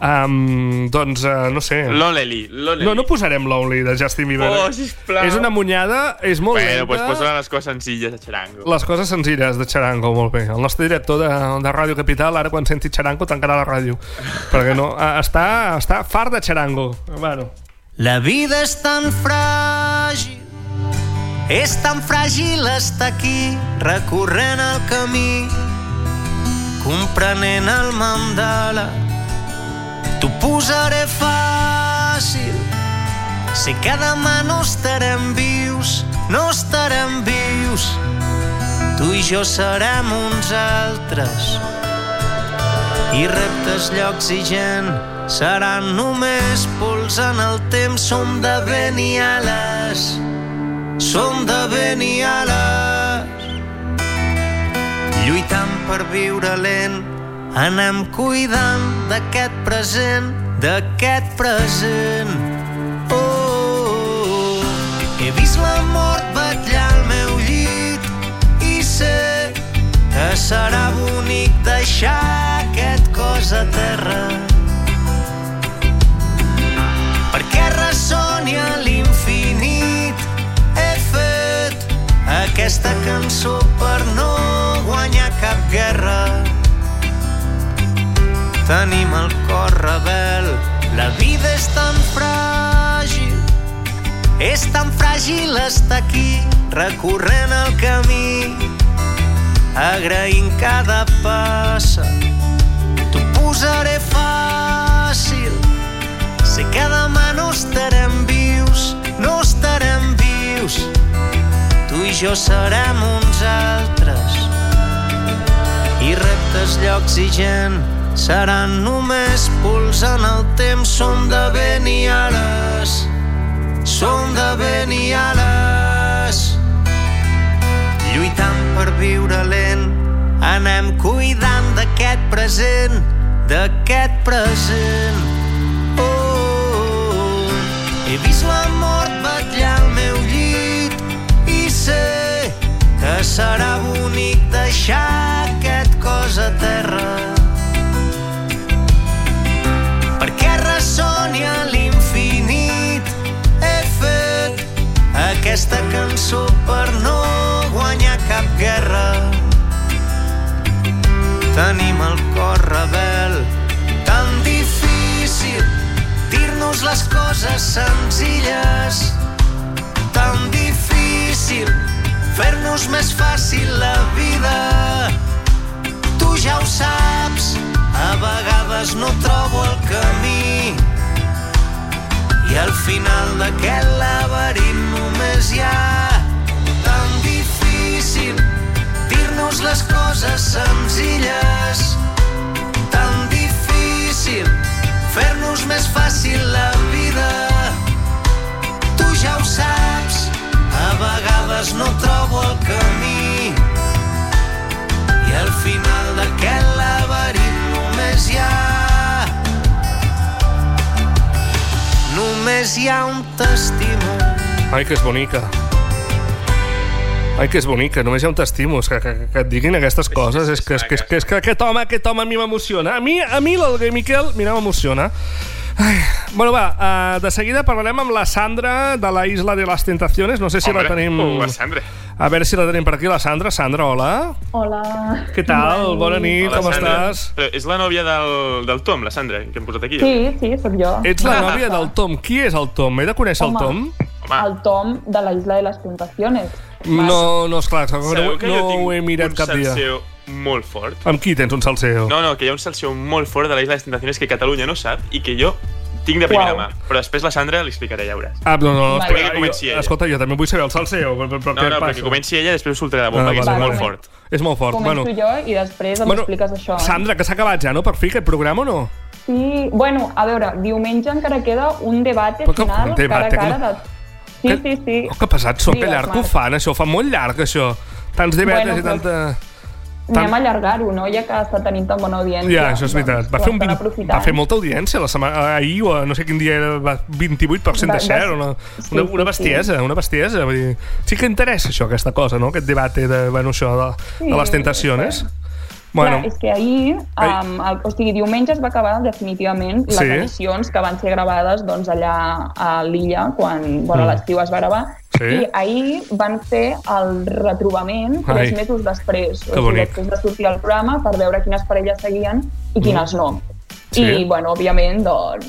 B: Um, doncs, uh, no sé...
C: Lonely, lonely.
B: No, no posarem Lonely de Justin Bieber.
C: Oh, sisplau.
B: És una munyada, és molt lenta.
C: Bueno, doncs posa les coses senzilles a xarango.
B: Les coses senzilles de Charango, molt bé. El nostre director de, de Ràdio Capital, ara quan senti Charango, tancarà la ràdio. Perquè no, eh, està, està fart de Charango. Bueno,
E: La vida és tan fràgil, és tan fràgil estar aquí, recorrent el camí, comprenent el mandala. T'ho posaré fàcil, sé que demà no estarem vius, no estarem vius, tu i jo serem uns altres. I reptes, llocs i gent seran només pols en el temps. Som de vent i ales, som de vent i ales. Lluitant per viure lent, anem cuidant d'aquest present, d'aquest present. Oh, oh, oh. He vist la mort vetllar al meu llit i sé que serà bonic deixar aquest cos a terra perquè ressoni a l'infinit he fet aquesta cançó per no guanyar cap guerra tenim el cor rebel la vida és tan fràgil és tan fràgil estar aquí recorrent el camí agraint cada passa. T'ho posaré fàcil, sé que demà no estarem vius, no estarem vius. Tu i jo serem uns altres. I reptes, llocs i gent seran només pols en el temps. Som de vent i ales, som de vent i ales lluitant per viure lent, anem cuidant d'aquest present, d'aquest present. Oh, oh, oh. He vist la mort vetllar al meu llit i sé que serà bonic deixar aquest cos a terra perquè ressoni a l'infinit he fet aquesta cançó per no guanyar cap guerra. Tenim el cor rebel, tan difícil dir-nos les coses senzilles, tan difícil fer-nos més fàcil la vida. Tu ja ho saps, a vegades no trobo el camí, i al final d'aquest laberint només hi ha tan difícil dir-nos les coses senzilles tan difícil fer-nos més fàcil la vida tu ja ho saps a vegades no trobo el camí i al final d'aquest laberint només hi ha Només hi ha un t'estimo.
B: ai, que és bonica. Ai, que és bonica, només hi ha un t'estimo. És Que, que, que et diguin aquestes coses, és que, és que, és que, és que aquest home, aquest home a mi m'emociona. A mi, a mi l'Olga i Miquel, mira, m'emociona. Ai. Bueno, va, uh, de seguida parlarem amb la Sandra de la Isla de les Tentaciones. No sé si la tenim...
C: Uh, la Sandra.
B: A veure si la tenim per aquí, la Sandra. Sandra, hola.
K: Hola.
B: Què tal? Bona nit,
C: Hola,
B: com
C: Sandra.
B: estàs?
C: Però és la nòvia del, del Tom, la Sandra, que hem posat aquí.
K: Sí, sí, sóc jo.
B: Ets la nòvia del Tom. Qui és el Tom? He de conèixer
K: Home.
B: el Tom?
C: Home,
K: El Tom de la Isla de les Tentaciones.
B: No, no, esclar, no,
C: sabeu que
B: no
C: jo tinc
B: ho he mirat
C: un
B: cap dia.
C: salseo molt fort?
B: Amb qui tens un salseo?
C: No, no, que hi ha un salseo molt fort de la Isla de les Tentaciones que Catalunya no sap i que jo tinc de primera
K: Uau.
C: mà. Però després la Sandra li explicaré, ja veuràs.
B: Ah, no, no,
K: Vale.
B: espera,
C: Que comenci
B: jo,
C: ella.
B: escolta, jo també vull saber el salseo, però, però
C: No,
B: què
C: no,
B: passa?
C: perquè comenci ella i després us soltaré la bomba,
B: Ah,
C: que és
K: vale,
C: molt
K: vale.
C: fort.
B: És molt fort. bueno,
K: Començo jo i després em
B: Bueno,
K: expliques això. eh?
B: Sandra, que s'ha acabat ja, no? Per fi, aquest programa o no?
K: Sí, bueno, a veure, diumenge encara queda un debat
B: Però que-
K: final
B: un
K: cara a
B: debate,
K: cara
B: que-
K: de... Sí,
B: que-
K: sí, sí.
B: Oh, que pesat són, que
K: Digues,
B: llarg que ho
K: Marc.
B: fan, això. Ho fan molt llarg, això. Tants debates
K: Bueno,
B: i tanta... Tant-
K: Anem a allargar-ho, no? Ja que està tenint tan bona audiència.
B: Ja, això és veritat. Va
K: ho
B: fer, un
K: estan
B: 20, va
K: aprofitant.
B: fer molta audiència la setmana, ahir o no sé quin dia era, va- 28% de
K: Va- va
B: share,
K: ser-
B: una,
K: sí,
B: una,
K: sí,
B: una bestiesa, una bestiesa. Vull dir, sí que interessa això, aquesta cosa, no? Aquest debat de, bueno, això de, de les
K: Sí,
B: tentacions.
K: Bueno.
B: Bueno,
K: Clar, és que ahir,
B: Ahir-
K: um, el, o sigui, diumenge es va acabar definitivament les
B: Sí.
K: edicions que van ser gravades doncs, allà a l'illa, quan bueno,
L: Mm.
K: mm. l'estiu es va gravar,
L: Sí.
K: i ahir van fer el retrobament
L: Ai.
K: tres mesos després,
L: Que bonic.
K: després de sortir al programa, per veure quines parelles seguien i quines
B: Mm.
K: no.
B: Sí.
K: I, bueno, òbviament, doncs,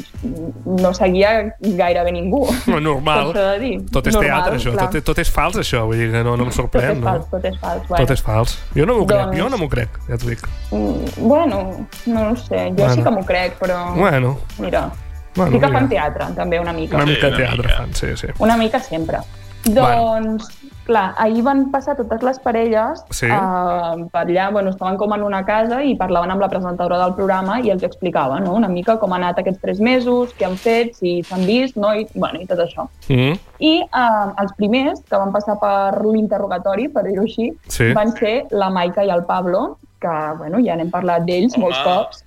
K: no seguia gairebé ningú.
B: no, normal.
K: Tot s'ha de dir.
B: Tot és
K: Normal,
B: teatre, això.
K: clar.
B: Tot, tot és fals, això. Vull dir que no, no em
K: Tot és
B: sorprèn.
K: fals,
B: No?
K: tot és fals. Bueno.
B: Tot és fals. Jo no m'ho crec,
K: Doncs-
B: jo no m'ho crec, ja t'ho dic.
K: Mm, Bueno, no ho sé, jo
B: Bueno.
K: sí que m'ho crec, però...
B: Bueno.
K: Mira,
B: Bueno,
K: bueno, sí que fan
B: mira.
K: teatre, també, una mica.
B: Una mica teatre fan, sí, sí.
K: Una mica sempre.
B: Bueno.
K: Doncs, clar, ahir van passar totes les parelles
B: Sí.
K: eh, per allà, bueno, estaven com en una casa i parlaven amb la presentadora del programa i els explicava, no?, una mica com ha anat aquests tres mesos, què han fet, si s'han vist, no?, i, bueno, i tot això.
B: Mm.
K: I eh, els primers que van passar per l'interrogatori, per dir-ho així,
B: Sí.
K: van ser la Maica i el Pablo, que bueno, ja n'hem parlat d'ells molts cops.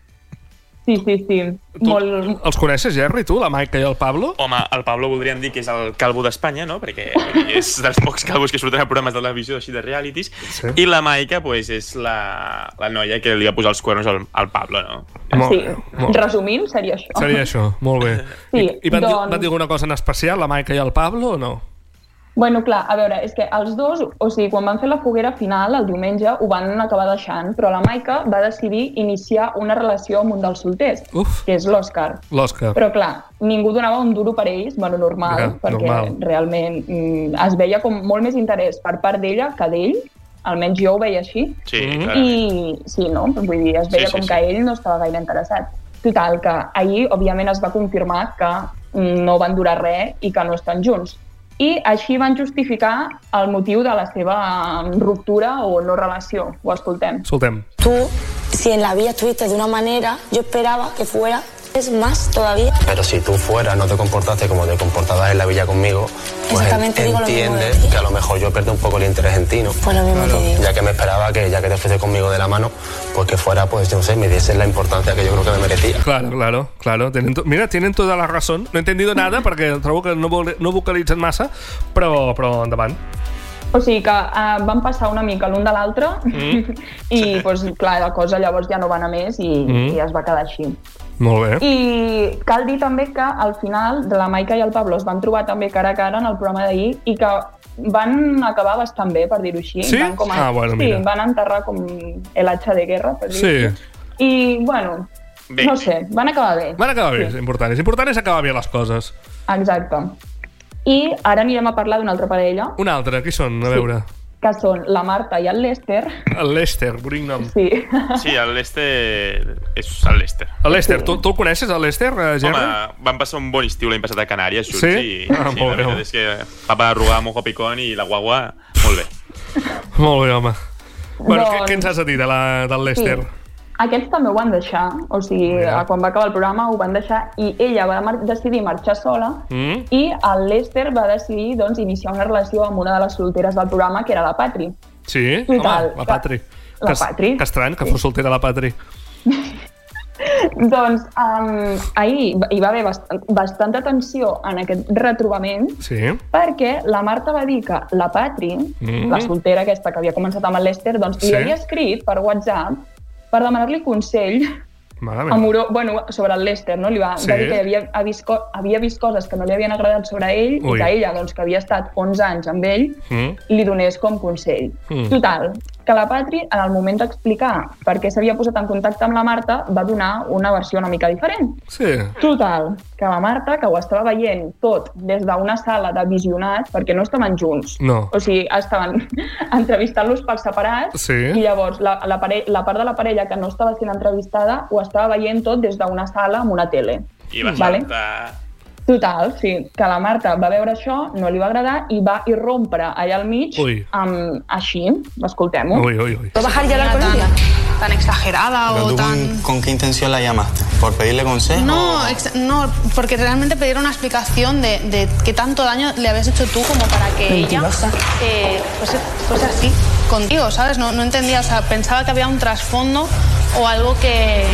K: Sí, sí, sí. Molt...
B: Els coneixes, Jerry, tu, la Maica i el Pablo?
C: Home, el Pablo voldríem dir que és el calvo d'Espanya, no? Perquè és dels pocs calvos que surten a programes de televisió així de realities.
B: Sí.
C: I la Maica, pues, és la, la noia que li va posar els cuernos al, al Pablo, no?
B: Molt,
K: sí.
B: molt.
K: Resumint, seria això.
B: Seria això, molt bé.
K: Oh. Sí,
B: I van, doncs...
K: doncs-
B: dir, van dir alguna cosa en especial, la Maica i el Pablo, o no?
K: Bueno, clar, a veure, és que els dos, o sigui, quan van fer la foguera final, el diumenge, ho van acabar deixant, però la Maica va decidir iniciar una relació amb un dels solters,
B: Uf.
K: que és l'Òscar.
B: L'Òscar.
K: Però clar, ningú donava un duro per ells, bueno, normal,
B: Ja,
K: perquè
B: normal.
K: realment mm, es veia com molt més interès per part d'ella que d'ell, almenys jo ho veia així,
C: Sí,
B: Hmm?
K: i sí, no? Vull dir, es
C: Mhm. Sí,
K: veia
C: sí,
K: com
C: sí.
K: que ell no estava gaire interessat. Total, que ahir, òbviament, es va confirmar que mm, no van durar res i que no estan junts. I així van justificar el motiu de la seva mm, ruptura o no relació. Ho escoltem.
B: Soltem.
M: Tú, si en la vida estuviste de una manera, yo esperaba que fuera es más todavía.
N: Pero si tú fuera no te comportaste como te comportabas en la villa conmigo, pues
M: Exactamente, digo lo mismo
N: entiendes que a lo mejor yo perdí un poco el interés en ti, ¿no?
M: Pues lo mismo te digo.
N: Ya que me esperaba que, ya que te fuiste conmigo de la mano, pues que fuera, pues yo no sé, me diese la importancia que yo creo que me merecía.
B: Claro, claro, claro. Tienen to- Mira, tienen toda la razón. No he entendido nada perquè trobo que no, vol- no vocalitzen massa, però, però endavant.
K: O sigui que eh, van passar una mica l'un de l'altre
B: Mm.
K: i, doncs, clar, la cosa llavors ja no va anar més i,
B: Mm. Eh?
K: i es va quedar així.
B: Molt bé.
K: I cal dir també que al final la Maica i el Pablo es van trobar també cara a cara en el programa d'ahir i que van acabar bastant bé, per dir-ho així.
B: Sí?
K: Van com
B: Ah, bueno,
K: sí,
B: mira.
K: van enterrar com el hacha de guerra, per dir-ho
B: Sí.
K: així. I, bueno,
B: Bé.
K: no sé, van acabar bé.
B: Van acabar bé, és important. És important és acabar bé les coses.
K: Exacte. I ara anirem a parlar d'una altra parella,
B: Una altra, qui són? A veure.
K: que són la Marta i el Lester.
B: El Lester, bonic nom.
K: Sí.
C: Sí, el Lester és el Lester.
B: El Lester, tu, tu el coneixes, el Lester, eh,
C: Home,
B: Gerri?
C: van passar un bon estiu l'any passat a Canàries, junts,
B: Sí?
C: i,
B: Ah,
C: sí
B: molt
C: la
B: bé.
C: veritat és que papa arrugar, mojo picón i la guagua, molt bé.
B: Molt bé, home. Bueno, què,
K: Doncs-
B: què ens has de dir de la, del Lester?
K: Aquests també ho van deixar, o sigui,
B: Mira.
K: quan va acabar el programa ho van deixar i ella va mar decidir marxar sola
B: Mm?
K: I el Lester va decidir doncs, iniciar una relació amb una de les solteres del programa, que era la Patri.
B: Sí?
K: I
B: Home,
K: tal,
B: la
K: que-
B: Patri.
K: la
B: Que es-
K: Patri.
B: Que estrany que fos soltera la Patri.
K: doncs um, ahir hi va haver bastant, bastanta tensió en aquest retrobament
B: Sí?
K: perquè la Marta va dir que la Patri,
B: Mm.
K: la soltera aquesta que havia començat amb el Lester, doncs li
B: Sí.
K: havia escrit per WhatsApp per demanar-li consell
B: Mare meva.
K: amoró, bueno, sobre el Lester, no? Li va,
B: Ah, Sí.
K: va dir que havia, ha vist, co- havia vist coses que no li havien agradat sobre ell
B: Ui.
K: i que ella, doncs, que havia estat 11 anys amb ell,
B: Mm?
K: li donés com consell.
B: Mm.
K: Mm. Total, que la Patri, en el moment d'explicar per què s'havia posat en contacte amb la Marta, va donar una versió una mica diferent.
B: Sí.
K: Total, que la Marta, que ho estava veient tot des d'una sala de visionats, perquè no estaven junts,
B: No.
K: o sigui, estaven entrevistant-los per separat,
B: Sí.
K: i llavors la, la, pare la part de la parella que no estava sent entrevistada ho estava veient tot des d'una sala amb una tele.
C: I va
K: vale?
C: saltar...
K: Total, sí, que la Marta va veure això, no li va agradar i va irrompre allà al mig
B: Ui.
K: amb, així, escoltem-ho.
B: Uy, uy, uy.
K: ¿Puedo bajar ya la colonia? Tan exagerada
N: Pero tú con, con qué intención la llamaste? ¿Por pedirle consejo?
L: No, ex- no, porque realmente pedir una explicación de, de qué tanto daño le habías hecho tú como para que
N: Mentirosa.
L: ella eh, fuese, fuese así contigo, ¿sabes? No, no entendía, o sea, pensaba que había un trasfondo o algo que,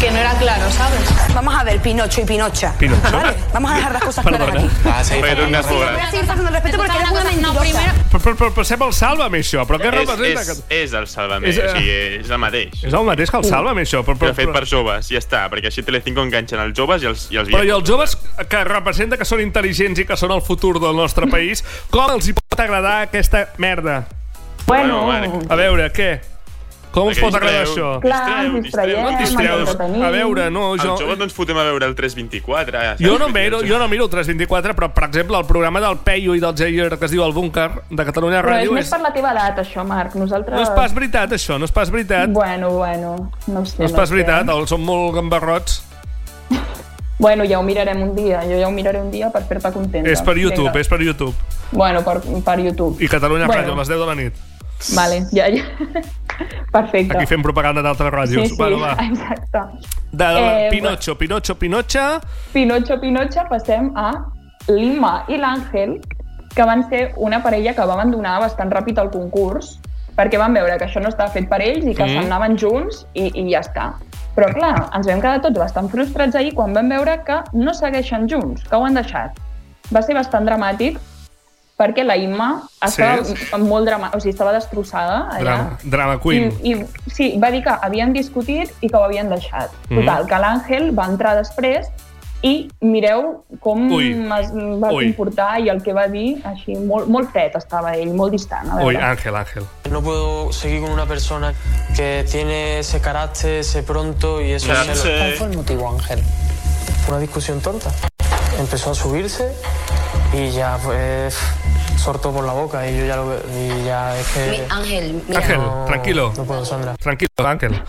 L: que no era claro, ¿sabes? Vamos a ver, Pinocho y Pinocha.
B: Pinocho.
L: Vale,
M: Vamos a dejar las cosas claras
B: Perdona.
M: aquí.
N: Ah, sí.
B: Perdona.
M: Voy a seguir faltando el respeto porque eres una mentirosa.
B: Però, però, però sembla el Sálvame, això. Però què
C: és,
B: representa?
C: és,
B: que-
C: és el Salvament,
B: És,
C: és,
B: eh,
C: o sigui, és el mateix.
B: És el mateix que el Sálvame, això. Però, però,
C: Però, fet
B: però,
C: per joves, ja està, perquè així Telecinco enganxen els joves i els, i els
B: però i
C: viejos.
B: els joves que representa que són intel·ligents i que són el futur del nostre país, com els hi pot agradar aquesta merda?
K: Bueno, Marc.
B: A veure, què? Com us
C: Perquè
B: pot agradar
C: distreu,
B: això?
K: Clar, ens distraiem, ens
B: Distreus.
K: entretenim.
B: A veure, no, jo...
C: Els joves no ens fotem a veure el 324. ja saps?
B: Jo no,
C: eh.
B: miro, jo no miro el 324, però, per exemple, el programa del Peyu i del Jair que es diu El Búnker, de Catalunya
K: Però és
B: Ràdio,
K: més per la teva edat, això, Marc. Nosaltres...
B: No és pas veritat, això, no és pas veritat.
K: Bueno, bueno, no ho sé.
B: No és
K: ho
B: pas
K: sé.
B: veritat, el, som molt gambarrots.
K: Bueno, ja ho mirarem un dia. Jo ja ho miraré un dia per fer-te contenta.
B: És per YouTube,
K: Vinga.
B: és per YouTube.
K: Bueno, per, per YouTube.
B: I Catalunya
K: Bueno.
B: Ràdio, a les 10 de la nit.
K: Vale, ja, ja. Perfecte.
B: Aquí fem propaganda d'altres ràdios.
K: Sí, sí,
B: Bueno, va.
K: exacte.
B: De, de,
K: Eh, Ah,
B: Pinocho, Pinocho, Pinocha...
K: Pinocho Pinocha passem a Lima i l'Àngel, que van ser una parella que va abandonar bastant ràpid el concurs perquè van veure que això no estava fet per ells i que
O: Mm.
K: mm. se'n anaven junts i, i ja està. Però clar, ens vam quedar tots bastant frustrats ahir quan vam veure que no segueixen junts, que ho han deixat. Va ser bastant dramàtic perquè la Imma estava
B: Sí.
K: molt dramàtica, o sigui, estava destrossada allà.
B: Drama, drama Queen.
K: I, i, sí, va dir que havien discutit i que ho havien deixat.
B: Mhm.
K: Total, que l'Àngel va entrar després i mireu com
B: Ui.
K: es va
B: Ui.
K: comportar i el que va dir, així, molt, molt fred estava ell, molt distant. A
B: Ui,
K: veure.
B: Àngel, Àngel.
P: No puedo seguir con una persona que tiene ese carácter, ese pronto y esos
B: Carácter.
P: celos. ¿Cuál fue el motivo, Ángel? Una discusión tonta. Empezó a subirse y ya pues sortó por la boca y yo ya lo y ya es que
M: Ángel,
B: Ángel, tranquilo.
P: no puedo Sandra.
B: Tranquil, Àngel.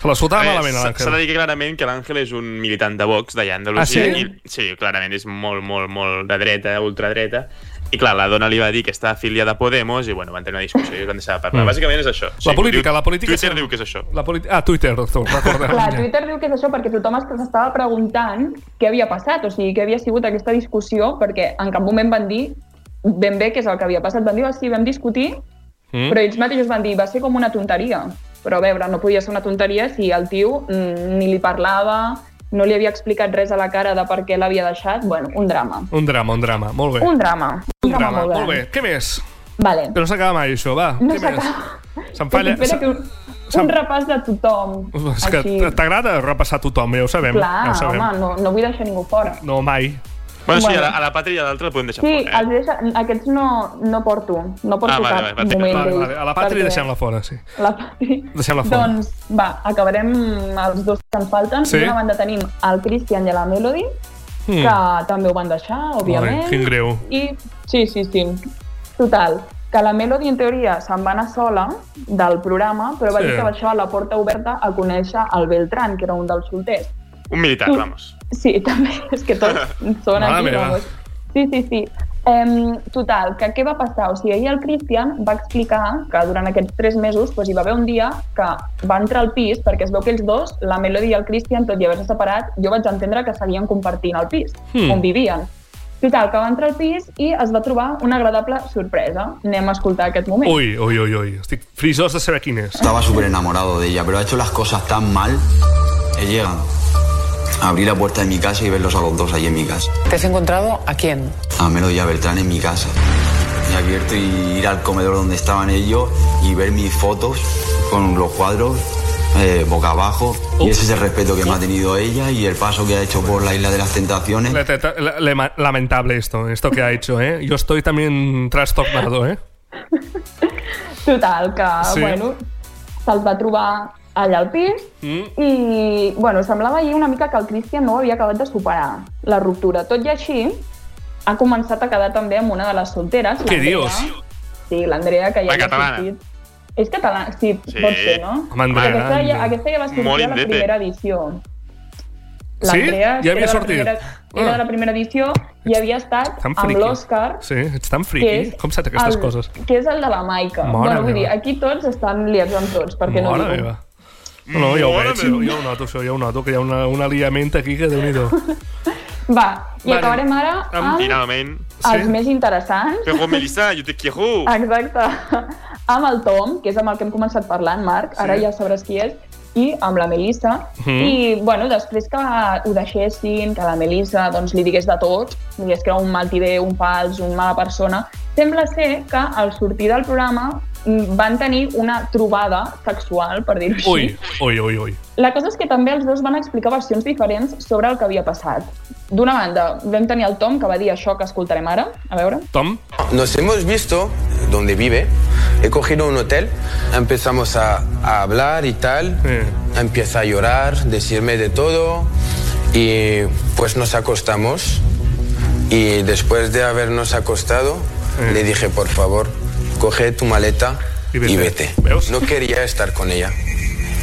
B: Se la
C: A
B: sotava
C: veure,
B: malament,
C: s'ha- Eh, S'ha de
B: l'Àngel.
C: dir que clarament que l'Àngel és un militant de Vox d'allà a Andalusia.
B: Ah, sí?
C: I, sí, clarament és molt, molt, molt de dreta, ultradreta. I clar, la dona li va dir que està afiliada a Podemos i bueno, van tenir una discussió i es van deixar de parlar.
B: Mm.
C: Mm. Bàsicament és això.
B: La política,
C: diu,
B: la política
C: Twitter
B: és-
C: diu que és això.
B: La politi... Ah, Twitter, tu, recordem.
K: Clar, Twitter diu que és això perquè tothom es- s'estava preguntant què havia passat, o sigui, què havia sigut aquesta discussió, perquè en cap moment van dir ben bé què és el que havia passat. Van dir, "Ah, sí, vam discutir,
B: Mm?
K: Però ells mateixos van dir, va ser com una tonteria. Però a veure, no podia ser una tonteria si el tio mm, ni li parlava, no li havia explicat res a la cara de per què l'havia deixat. Bueno, un drama.
B: Un drama, un drama, molt bé.
K: Un drama. Un, drama, molt gran.
B: molt bé. Què més?
K: Vale.
B: Que no s'acaba mai, això, va.
K: No
B: Què més? Se'm
K: Falla,
B: falla...
K: espera que un, un repàs de tothom.
B: És que
K: Així.
B: t'agrada repassar tothom, ja ho sabem.
K: Clar,
B: ja ho sabem.
K: home, no, no vull deixar ningú fora.
B: No, mai.
C: Bueno, sí,
K: Bueno.
C: a la, a la pàtria i a l'altra la podem deixar
K: Sí,
C: fora.
K: els deixa, aquests no, no porto. No porto
C: eh? Ah, vale, vale,
K: cap
C: vale,
K: moment
C: vale,
K: d'ells,
B: Vale, a la pàtria
K: perquè-
B: deixem-la fora, sí.
K: La Patri.
B: Deixem-la fora.
K: Doncs va, acabarem els dos que ens falten.
B: Sí.
K: D'una banda tenim el Christian i la Melody,
B: Mm.
K: mm. que també ho van deixar, òbviament.
B: Ai, quin greu.
K: I sí, sí, sí. Total, que la Melody en teoria se'n va anar sola del programa, però va
C: Sí.
K: dir que va deixar la porta oberta a conèixer el Beltran, que era un dels solters.
C: Un militar,
K: Tu-
C: vamos.
K: Sí, també, és que tots són
C: Mare
K: aquí,
C: meva.
K: vamos. Sí, sí, sí. Um, total, que què va passar? O sigui, ahir el Christian va explicar que durant aquests tres mesos doncs, hi va haver un dia que va entrar al pis perquè es veu que ells dos, la Melody i el Christian, tot i haver-se separat, jo vaig entendre que seguien compartint el pis,
M: Hmm.
K: hmm. on vivien. Total, que va entrar al pis i es va trobar una agradable sorpresa. Anem a escoltar aquest moment.
B: Ui, ui, ui, ui. Estic frisós de saber quin és.
Q: Estaba súper enamorado de ella, pero ha hecho las cosas tan mal. He llegado a abrir la puerta de mi casa y verlos a los dos ahí en mi casa.
R: ¿Te has encontrado a quién?
Q: A Melody y a Beltrán en mi casa. Y abierto y ir al comedor donde estaban ellos y ver mis fotos con los cuadros eh, boca abajo. Y ese es el respeto que me ha tenido ella y el paso que ha hecho por la isla de las tentaciones.
B: La- la- la- lema- Lamentable esto, esto que ha hecho, ¿eh? Yo estoy también trastornado, ¿eh?
K: Total, que,
B: Sí.
K: sí. bueno, se'ls va trobar allà al pis
B: Mm.
K: i, bueno, semblava ahir una mica que el Christian no ho havia acabat de superar, la ruptura. Tot i així, ha començat a quedar també amb una de les solteres.
B: Què
K: l'Andrea.
B: dius?
K: Sí, l'Andrea, que ja
B: La
K: havia
B: catalana.
K: sortit. És catalana, sí, pot ser, no?
B: Home, Andrea,
K: aquesta, ja,
B: Andrea.
K: aquesta ja va sortir
B: Molt
K: a la
B: independent.
K: primera edició. l'Andrea
B: Sí? Ja
K: era
B: havia
K: de la
B: sortit.
K: primera- Era
B: Ah.
K: de la primera edició i havia estat
B: Tan
K: amb
B: friki.
K: l'Oscar
B: Sí, ets tan friki. Com saps aquestes
K: el,
B: coses?
K: Que és el de la Maica.
B: Mare
K: bueno, vull
B: meva.
K: dir, aquí tots estan liats amb tots,
B: Mare
K: perquè no diu.
B: meva. No, no, ja ho
K: Mare
B: veig,
K: meva.
B: ja ho noto, això, ja ho noto, que hi ha una, un aliament aquí que déu nhi
K: Va, i
B: Vale.
K: acabarem ara amb
C: Finalment.
K: els més interessants.
C: Però, Melissa, jo te quiero.
K: Exacte. Amb el Tom, que és amb el que hem començat parlant, Marc, ara
C: Sí.
K: ja sabràs qui és, i amb la Melissa.
C: Mhm.
K: I, bueno, després que ho deixessin, que la Melissa doncs, li digués de tot, li digués que era un maltider, un fals, una mala persona, sembla ser que al sortir del programa mm, van tenir una trobada sexual, per dir-ho així.
B: Ui, ui, ui, ui.
K: La cosa és que també els dos van explicar versions diferents sobre el que havia passat. D'una banda, vam tenir el Tom, que va dir això que escoltarem ara, a veure.
B: Tom.
N: Nos hemos visto donde vive. He cogido un hotel, empezamos a, a hablar y tal. Empieza a llorar, decirme de todo. Y pues nos acostamos. Y después de habernos acostado, le dije, por favor, coge tu maleta y vete. No quería estar con ella.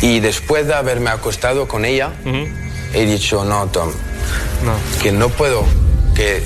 N: Y después de haberme acostado con ella, he dicho, no, Tom, que no puedo, que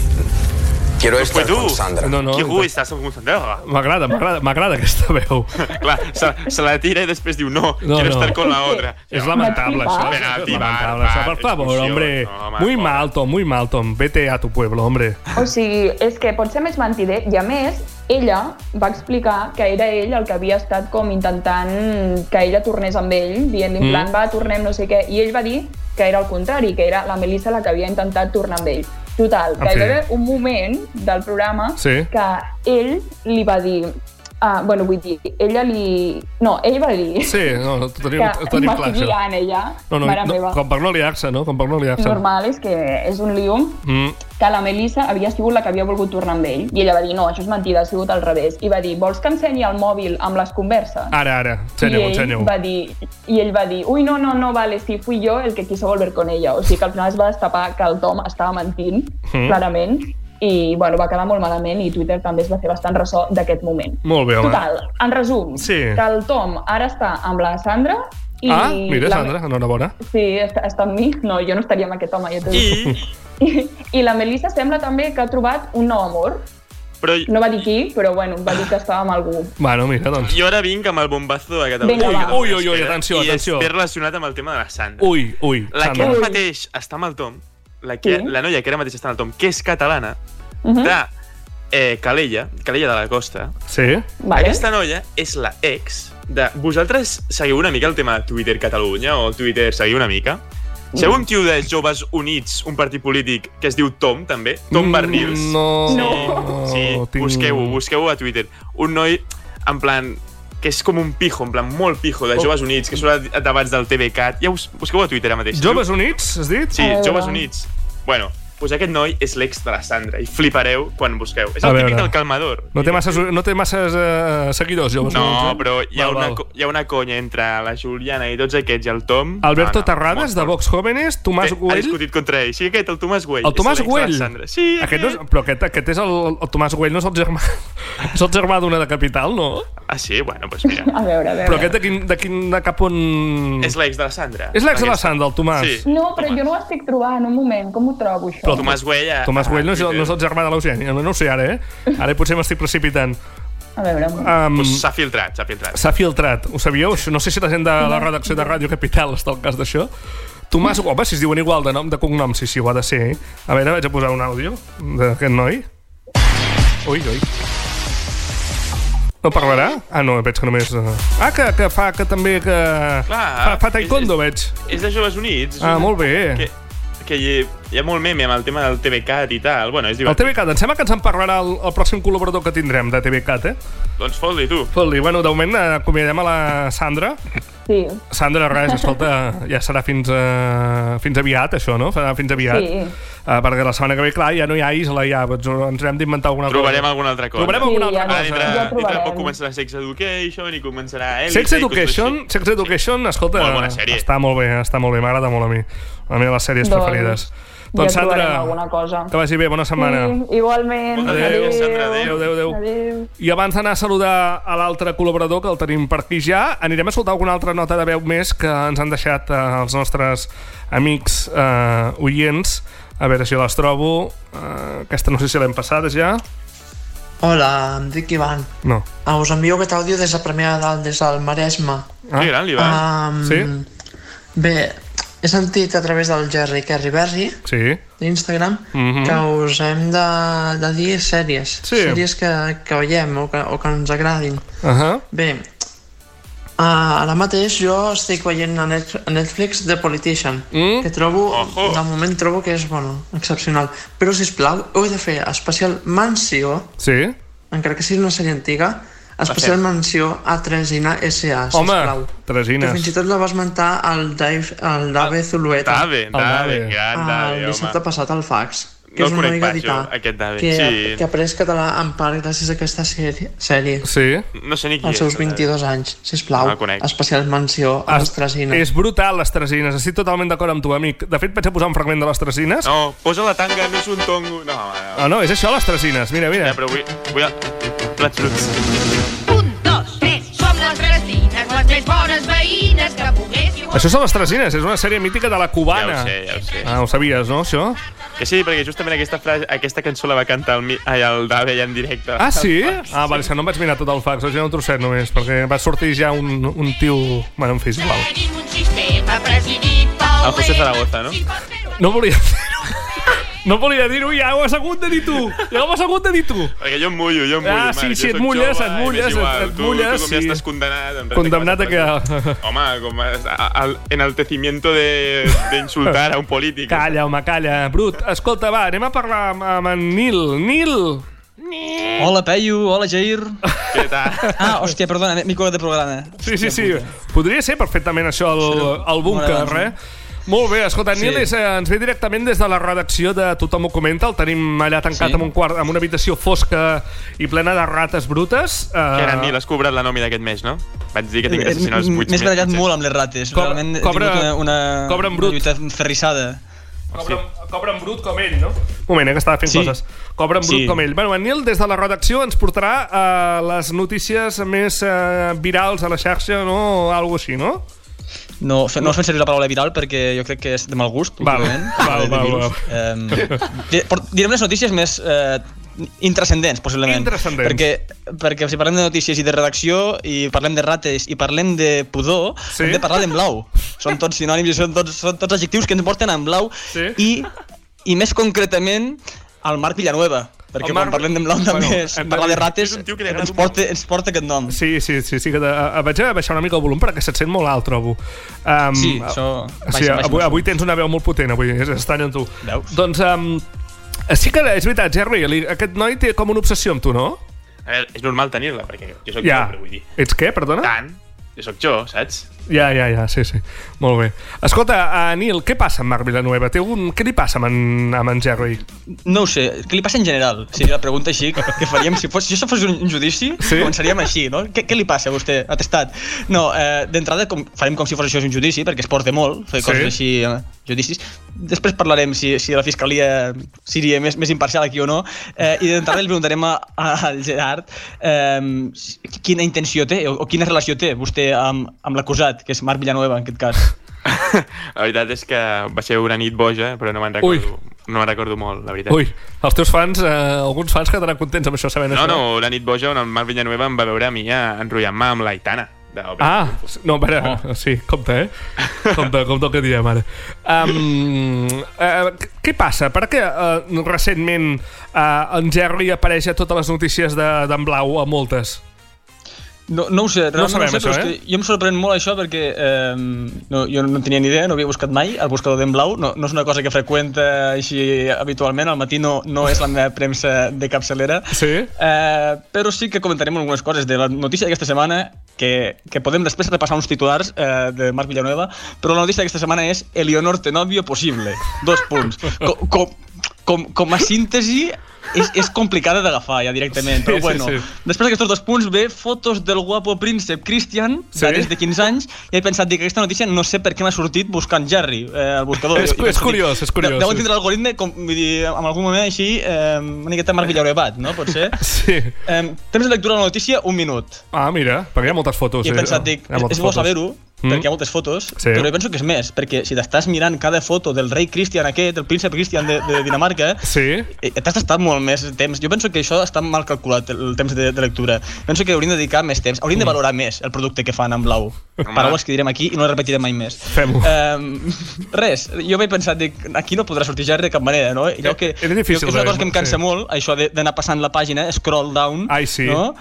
N: quiero estar con Sandra.
C: No, no. Quiero estar con Sandra.
B: M'agrada, m'agrada, m'agrada aquesta veu.
C: Clar, se, se la tira i després diu no,
B: No,
C: no quiero
B: no.
C: estar con la otra.
B: Es lamentable, això.
C: Ven a
B: Es
C: ti,
B: lamentable, això. Por favor, hombre. muy mal, Tom, muy mal, Tom. Vete a tu pueblo, hombre.
K: O sigui, és que pot ser més mentider i a més, ella va explicar que era ell el que havia estat com intentant que ella tornés amb ell, dient en
O: Mm.
K: plan, va, tornem, no sé què, i ell va dir que era el contrari, que era la Melissa la que havia intentat tornar amb ell. Total,
O: En
K: que hi
O: fi.
K: va haver un moment del programa
O: Sí.
K: que ell li va dir Ah, bueno, vull dir, ella li... No, ell va dir...
B: Sí, no, no, ho tenim- ho tenim clar,
K: m'estic
B: això.
K: liant, ella,
B: No, no,
K: mare
B: no
K: meva.
B: com per no liar-se, no? Com per no liar-se.
K: Normal, és que és un lío
B: Mm.
K: que la Melissa havia sigut la que havia volgut tornar amb ell. I ella va dir, no, això és mentida, ha sigut al revés. I va dir, vols que ensenyi el mòbil amb les converses?
B: Ara, ara, ensenyo,
K: I ell
B: ensenyo.
K: Va dir, I ell va dir, ui, no, no, no, vale, sí, fui jo el que quiso volver con ella. O sigui que al final es va destapar que el Tom estava mentint,
B: Mm.
K: mm. clarament, i bueno, va quedar molt malament i Twitter també es va fer bastant ressò d'aquest moment.
B: Molt bé, home.
K: Total, en resum,
B: Sí.
K: que el Tom ara està amb la Sandra i
B: Ah, mira,
K: la...
B: Sandra, enhorabona.
K: Sí, està, està amb mi. No, jo no estaria amb aquest home, jo t'ho dic.
B: I...
K: I la Melissa sembla també que ha trobat un nou amor.
C: Però
K: No va dir qui, però bueno, va dir que estava amb algú.
B: Bueno, mira, doncs.
C: jo ara vinc amb el bombazo de Catalunya.
K: Vinga, va.
B: Ui, ui, ui, atenció, atenció.
C: I és relacionat amb el tema de la Sandra.
B: Ui, ui,
C: La que
B: Sandra.
C: ara mateix està amb el Tom, la, que,
B: Sí.
C: la noia que ara mateix està amb el Tom, que és catalana,
K: Mhm.
C: de eh, Calella, Calella de la Costa,
B: Sí?
K: Vale.
C: aquesta noia és la ex de... Vosaltres seguiu una mica el tema de Twitter Catalunya o Twitter seguiu una mica? Sabeu
K: Mm.
C: un tio de Joves Units, un partit polític que es diu Tom, també? Tom
B: Mm,
C: Bernils.
B: no.
C: Sí,
B: No.
C: sí.
B: Tinc-
C: busqueu-ho, busqueu-ho a Twitter. Un noi, en plan, que és com un pijo, en plan, molt pijo,
B: Oh.
C: de Joves Units, que surt a debats del TVCAT. Ja us busqueu a Twitter ara mateix.
B: Joves Ah, Units, has dit?
C: Sí,
K: Eh,
C: Joves Units. Bueno, doncs aquest noi és l'ex de la Sandra i flipareu quan busqueu. És
B: A
C: el
B: veure.
C: típic del calmador.
B: No té masses, no té masses eh, seguidors, joves.
C: No,
B: Units, eh?
C: però hi ha,
B: Val,
C: una,
B: val.
C: co- hi ha una conya entre la Juliana i tots aquests i el Tom.
B: Alberto
C: No, no,
B: Terrades, de Vox Jóvenes, Tomàs
C: que
B: Güell...
C: Ha discutit contra ell. Sí, aquest, el Tomàs Güell.
B: El Tomàs
C: és l'ex de la
B: Güell.
C: Sandra. Sí,
B: aquest, no és, però aquest, aquest és el, el Tomàs Güell, no és el germà... és el germà d'una de Capital, no?
C: Ah, sí? Bueno, doncs pues mira.
K: A veure, a veure.
B: Però aquest de, quin, de, quin, de cap on...
C: És l'ex de la Sandra.
B: És l'ex de la Sandra, el Tomàs.
C: Sí.
K: No, però jo no ho estic trobant, un moment, com ho trobo, això?
B: Però
C: Tomàs Güell... ah, A...
B: Tomàs Güell no és, el- no és el germà de l'Eugènia, no, no ho sé ara, eh? Ara potser m'estic precipitant.
K: A veure,
B: Um,
C: Pues s'ha filtrat, s'ha filtrat.
B: S'ha filtrat, ho sabíeu? Això No sé si la gent de la redacció de Ràdio Capital està al cas d'això. Tomàs, home, si es diuen igual de nom de cognom, sí, sí, ho ha de ser, eh? A veure, vaig a posar un àudio d'aquest noi. Ui, ui. No parlarà? Ah, no, veig que només... eh, Ah, que, que fa que també que... fa, fa taekwondo, veig.
C: És de Joves Units. és
B: Ah,
C: un-
B: molt bé.
C: Que, que hi, hi ha molt meme amb el tema del TVCAT i tal. Bueno, és
B: eh. El
C: divertit.
B: TVCAT, em sembla que ens en parlarà el, el pròxim col·laborador que tindrem de TVCAT, eh?
C: Doncs fot-li, tu.
B: Fot-li. Bueno, de moment eh, acomiadem a la Sandra.
K: Sí.
B: Sandra, res, escolta, ja serà fins, a, fins aviat, això, no? Serà fins aviat.
K: Sí.
B: Uh, perquè la setmana que ve, clar, ja no hi ha Isla, ja doncs ens hem d'inventar alguna
C: Trobarem
B: cosa.
C: alguna altra cosa.
B: Trobarem alguna altra
C: Ara
B: cosa.
C: dintre, dintre poc començarà Sex Education i començarà Elite.
B: Sex
C: i coses
B: Education, Sex Education, escolta,
C: Molt bona sèrie.
B: està molt bé, està molt bé, m'agrada molt a mi. A mi de les sèries
C: Doncs-
B: preferides. Doncs,
K: ja trobarem
B: Sandra,
K: alguna cosa.
B: Que vagi bé, bona setmana.
K: Sí, igualment.
B: Adéu. Adéu, Sandra, adéu. Adéu, adéu.
K: Adéu.
B: I abans d'anar a saludar a l'altre col·laborador que el tenim per aquí ja, anirem a soltar alguna altra nota de veu més que ens han deixat eh, els nostres amics eh, oients. A veure si les trobo. Eh, aquesta no sé si l'hem passat ja.
O: Hola, em dic Ivan.
B: No.
O: Ah, us envio aquest àudio des de Premià de Dalt, des del Maresme.
B: Ah. Que gran, l'Ivan.
O: Am,
B: Sí?
O: Bé, he sentit a través del Jerry Carry Berry
B: Sí.
O: d'Instagram
B: Mhm.
O: que us hem de, de dir sèries,
B: Sí.
O: sèries que, que veiem o que, o que ens agradin.
B: Uh -huh.
O: Bé, ah, ara mateix jo estic veient a Net- a Netflix The Politician, mm? que trobo, Ojo. de moment trobo que és, bueno, excepcional. Però, si plau, heu de fer especial menció
B: Sí?
O: encara que sigui una sèrie antiga, especial
B: fem.
O: menció a Tresina S.A.
B: Home,
O: sisplau. Que
B: Tresines.
O: fins i tot la va esmentar el, Dave, el Dave Zulueta.
C: Dave,
O: El
C: Dave, gran Dave,
O: El
C: home.
O: dissabte passat al fax. Que
C: No
O: és
C: el
O: una
C: conec pas,
O: mica
C: jo,
O: editar.
C: aquest Dave.
O: Que,
C: Sí.
O: que ha après català en part gràcies a aquesta sèrie. sèrie.
B: Sí.
C: No sé ni qui
O: Als seus
C: és, eh,
O: 22 anys, sisplau.
B: No el conec.
O: especial menció a les Tresines.
B: És brutal, les tresines. Estic totalment d'acord amb tu, amic. De fet, vaig a posar un fragment de les tresines.
C: No, posa la tanga, no és un tongo. No, home, no.
B: Ah, no, és això, les tresines. Mira, mira.
C: Ja, però vull... vull a... Les trucs.
R: Dos, tres, som les vecines, les més bones veïnes que poguéssiu...
B: Això són les tresines, és una sèrie mítica de la cubana.
C: Ja ho sé, ja ho sé.
B: Ah, ho sabies, no, això?
C: Que sí, perquè justament aquesta, frase, aquesta cançó la va cantar el, mi- ai, el Dave allà en directe.
B: Ah, sí? Ah, vale, és que no em vaig mirar tot el fax, vaig mirar un trosset només, perquè va sortir ja un, un tio... Bueno, en fi, és igual.
R: Tenim un sistema presidit pel...
C: El José Zaragoza, no?
B: No volia fer-ho. No volia dir-ho, ja ho has hagut de dir tu. Ja ho has hagut de dir tu.
C: Perquè jo em mullo, jo em mullo.
B: Ah,
C: Marc,
B: sí,
C: jo
B: sí, et
C: sóc
B: mulles,
C: jove,
B: et
C: i m'és
B: mulles,
C: igual.
B: et- et
C: Tu-
B: mulles,
C: Tu com ja
B: sí.
C: estàs condenat. en realitat,
B: Condemnat a
C: com estàs-
B: que...
C: Home, com a, a- al enaltecimiento de, de insultar a un político.
B: Calla, home, calla. Brut, escolta, va, anem a parlar amb, amb en Nil. Nil!
S: Hola, Peyu, hola, Jair.
C: Què tal?
S: Ah, hòstia, perdona, m'he colat de programa.
B: Sí, sí, sí. Podria ser perfectament això el, el búnquer, eh? Molt bé, escolta,
S: Sí.
B: Nil és, eh, ens ve directament des de la redacció de Tothom ho comenta, el tenim allà tancat sí. en, un quart, en una habitació fosca i plena de rates brutes. Eh,
C: Que ara, Nil, has cobrat la nòmina aquest mes, no? Vaig dir que tingués
S: M'he
C: assassinar els 8
S: barallat molt amb les rates.
C: Cobra-
S: Realment he
C: cobra-
S: tingut una, una,
B: cobra en brut.
S: una lluita ferrissada.
B: Cobra en brut com ell, no? Un moment, eh, que estava fent
S: Sí.
B: coses. Cobra en brut
S: Sí.
B: com ell. Bueno, en Nil, des de la redacció, ens portarà a les notícies més eh, virals a la xarxa, no? O algo així, no?
S: No, fe, no us fent servir la paraula viral perquè jo crec que és de mal gust,
B: Val,
S: últimament.
B: val, val,
S: val. Um, di- por- direm les notícies més eh, intrascendents, possiblement.
B: Intrascendents.
S: Perquè, perquè si parlem de notícies i de redacció, i parlem de rates, i parlem de pudor,
B: Sí?
S: sí? hem de parlar d'en blau. Són tots sinònims i són tots, són tots adjectius que ens porten en blau.
B: Sí?
S: I, I més concretament, al Marc Villanueva. Perquè
B: El Marc-
S: quan parlem d'en blau també
B: Bueno,
S: bueno,
B: hem de
S: parlar
B: dir-
S: de rates ens porta, ens porta aquest nom.
B: Sí, sí, sí, sí que de, a, a- vaig a baixar una mica el volum perquè se't sent molt alt, trobo. Um,
S: Sí, això-
B: Sí,
S: baixa, baixa
B: avui,
S: molt.
B: avui tens una veu molt potent, avui, és estrany amb tu. Veus? Doncs, um, sí que és veritat, Jerry, li- aquest noi té com una obsessió amb tu, no?
C: A veure, és normal tenir-la, perquè jo sóc
B: Ja.
C: jo, però vull dir...
B: Ets què, perdona?
C: Tant. Jo sóc jo, saps?
B: Ja, ja, ja, sí, sí. Molt bé. Escolta, uh, Nil, què passa amb Marc Villanueva? Té un... Què li passa amb en, amb en Jerry?
S: No ho sé, què li passa en general? Seria la pregunta així que, que faríem si fos... Si això fos un un judici, sí? començaríem així, no? Què, què li passa a vostè, atestat? No, eh, d'entrada com, farem com si fos això un judici, perquè es porta molt fer
B: Sí.
S: coses així, eh, judicis. Després parlarem si, si la fiscalia seria més, més imparcial aquí o no. Eh, I d'entrada li preguntarem a, a, al Gerard eh, quina intenció té o, o quina relació té vostè amb, amb l'acusat, que és Marc Villanueva en aquest cas.
C: La veritat és que va ser una nit boja, però no me'n recordo, no me'n recordo molt, la veritat.
B: Ui, els teus fans, eh, alguns fans quedaran contents amb això, sabent
C: No,
B: això. eh?
C: no, una nit boja on el Marc Villanueva em va veure a mi a- enrotllant-me amb l'Aitana. d'Obres.
B: Ah, no, a veure, oh. sí, compte, eh? Compte, compte el que diem ara. Um, uh, què passa? Per què uh, recentment uh, en Jerry apareix a totes les notícies de- d'en de, Blau, a moltes?
S: No, no ho sé,
B: No ho
S: Doncs, eh, realment no,
B: sabem,
S: ho sé,
B: això,
S: però
B: eh?
S: és que jo em sorprèn molt això perquè eh, no, jo no en tenia ni idea, no havia buscat mai el buscador d'en blau, no, no és una cosa que freqüenta així habitualment, al matí no, no és la meva premsa de capçalera,
B: sí.
S: eh, però sí que comentarem algunes coses de la notícia d'aquesta setmana que, que podem després repassar uns titulars eh, de Marc Villanueva, però la notícia d'aquesta setmana és Eleonor Tenobio possible, dos punts. Co, com, com, com a síntesi, és, és complicada d'agafar ja directament, però
B: Sí, sí,
S: bueno.
B: sí.
S: Després d'aquests dos punts ve fotos del guapo príncep Christian,
B: Sí.
S: de des de 15 anys, i he pensat dir que aquesta notícia no sé per què m'ha sortit buscant Jerry, eh, el buscador.
B: És-
S: I vaig
B: és
S: dir,
B: curiós, és curiós,
S: "De- Deuen
B: sí.
S: tindre l'algoritme, com, vull dir, en algun moment així, eh, una miqueta Marc Villaurebat, no? Pot ser.
B: Sí.
S: Eh, temps de lectura de la notícia, un minut.
B: Ah, mira, perquè hi ha moltes fotos.
S: I he
B: eh?
S: pensat, dic,
B: Hi ha moltes
S: és bo
B: fotos.
S: saber-ho,
B: Mm.
S: perquè hi ha moltes fotos,
B: Sí.
S: però jo penso que és més, perquè si t'estàs mirant cada foto del rei Christian aquest, el príncep Christian de, de Dinamarca, eh,
B: sí.
S: t'has estat molt més temps. Jo penso que això està mal calculat, el, el temps de, de lectura. Penso que hauríem de dedicar més temps, hauríem
B: Mm.
S: de valorar més el producte que fan en blau. Paraules que direm aquí i no les repetirem mai més.
B: Fem-ho.
S: Um, res, jo vaig pensar, dic, aquí no podrà sortir Jerry de cap manera, no? I allò que,
B: Era difícil,
S: jo, és una
B: eh?
S: cosa que em cansa
B: Sí.
S: molt, això de- d'anar passant la pàgina, scroll down, Ai,
B: sí.
S: no?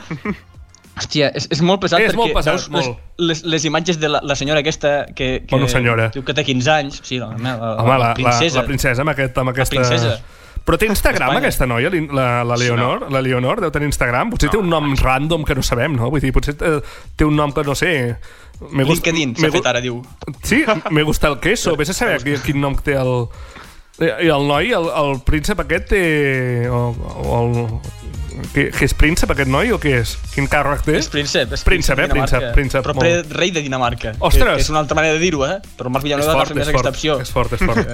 S: Hòstia, és, és molt pesat
B: És
S: perquè
B: molt pesat,
S: veus les,
B: molt.
S: Les, les imatges de la, la senyora aquesta que, que
B: Bueno, senyora.
S: diu que té 15 anys, sí, la, la, la,
B: Home, la, la,
S: princesa.
B: la princesa amb, aquest, amb aquesta...
S: princesa.
B: Però té Instagram,
S: Espanya.
B: aquesta noia, l'in- la, la Leonor? La Leonor deu tenir Instagram? Potser té un nom random que no sabem, no? Vull dir, potser eh, té un nom que no sé... Me gust-
S: LinkedIn
B: me
S: s'ha
B: gu-
S: fet ara, diu.
B: Sí, me gusta el queso. Vés a saber qui- quin nom té el... eh, I el noi, el, el príncep aquest té... O, o el... Que, que és príncep aquest noi o què és? Quin càrrec té?
S: És príncep, és
B: Príncep, eh?
S: de Dinamarca.
B: Príncep, príncep,
S: Proper
B: molt.
S: rei de Dinamarca. que-
B: Ostres!
S: Que, és una altra manera de dir-ho, eh? Però Marc Villanueva va fer més aquesta opció.
B: és fort, és fort.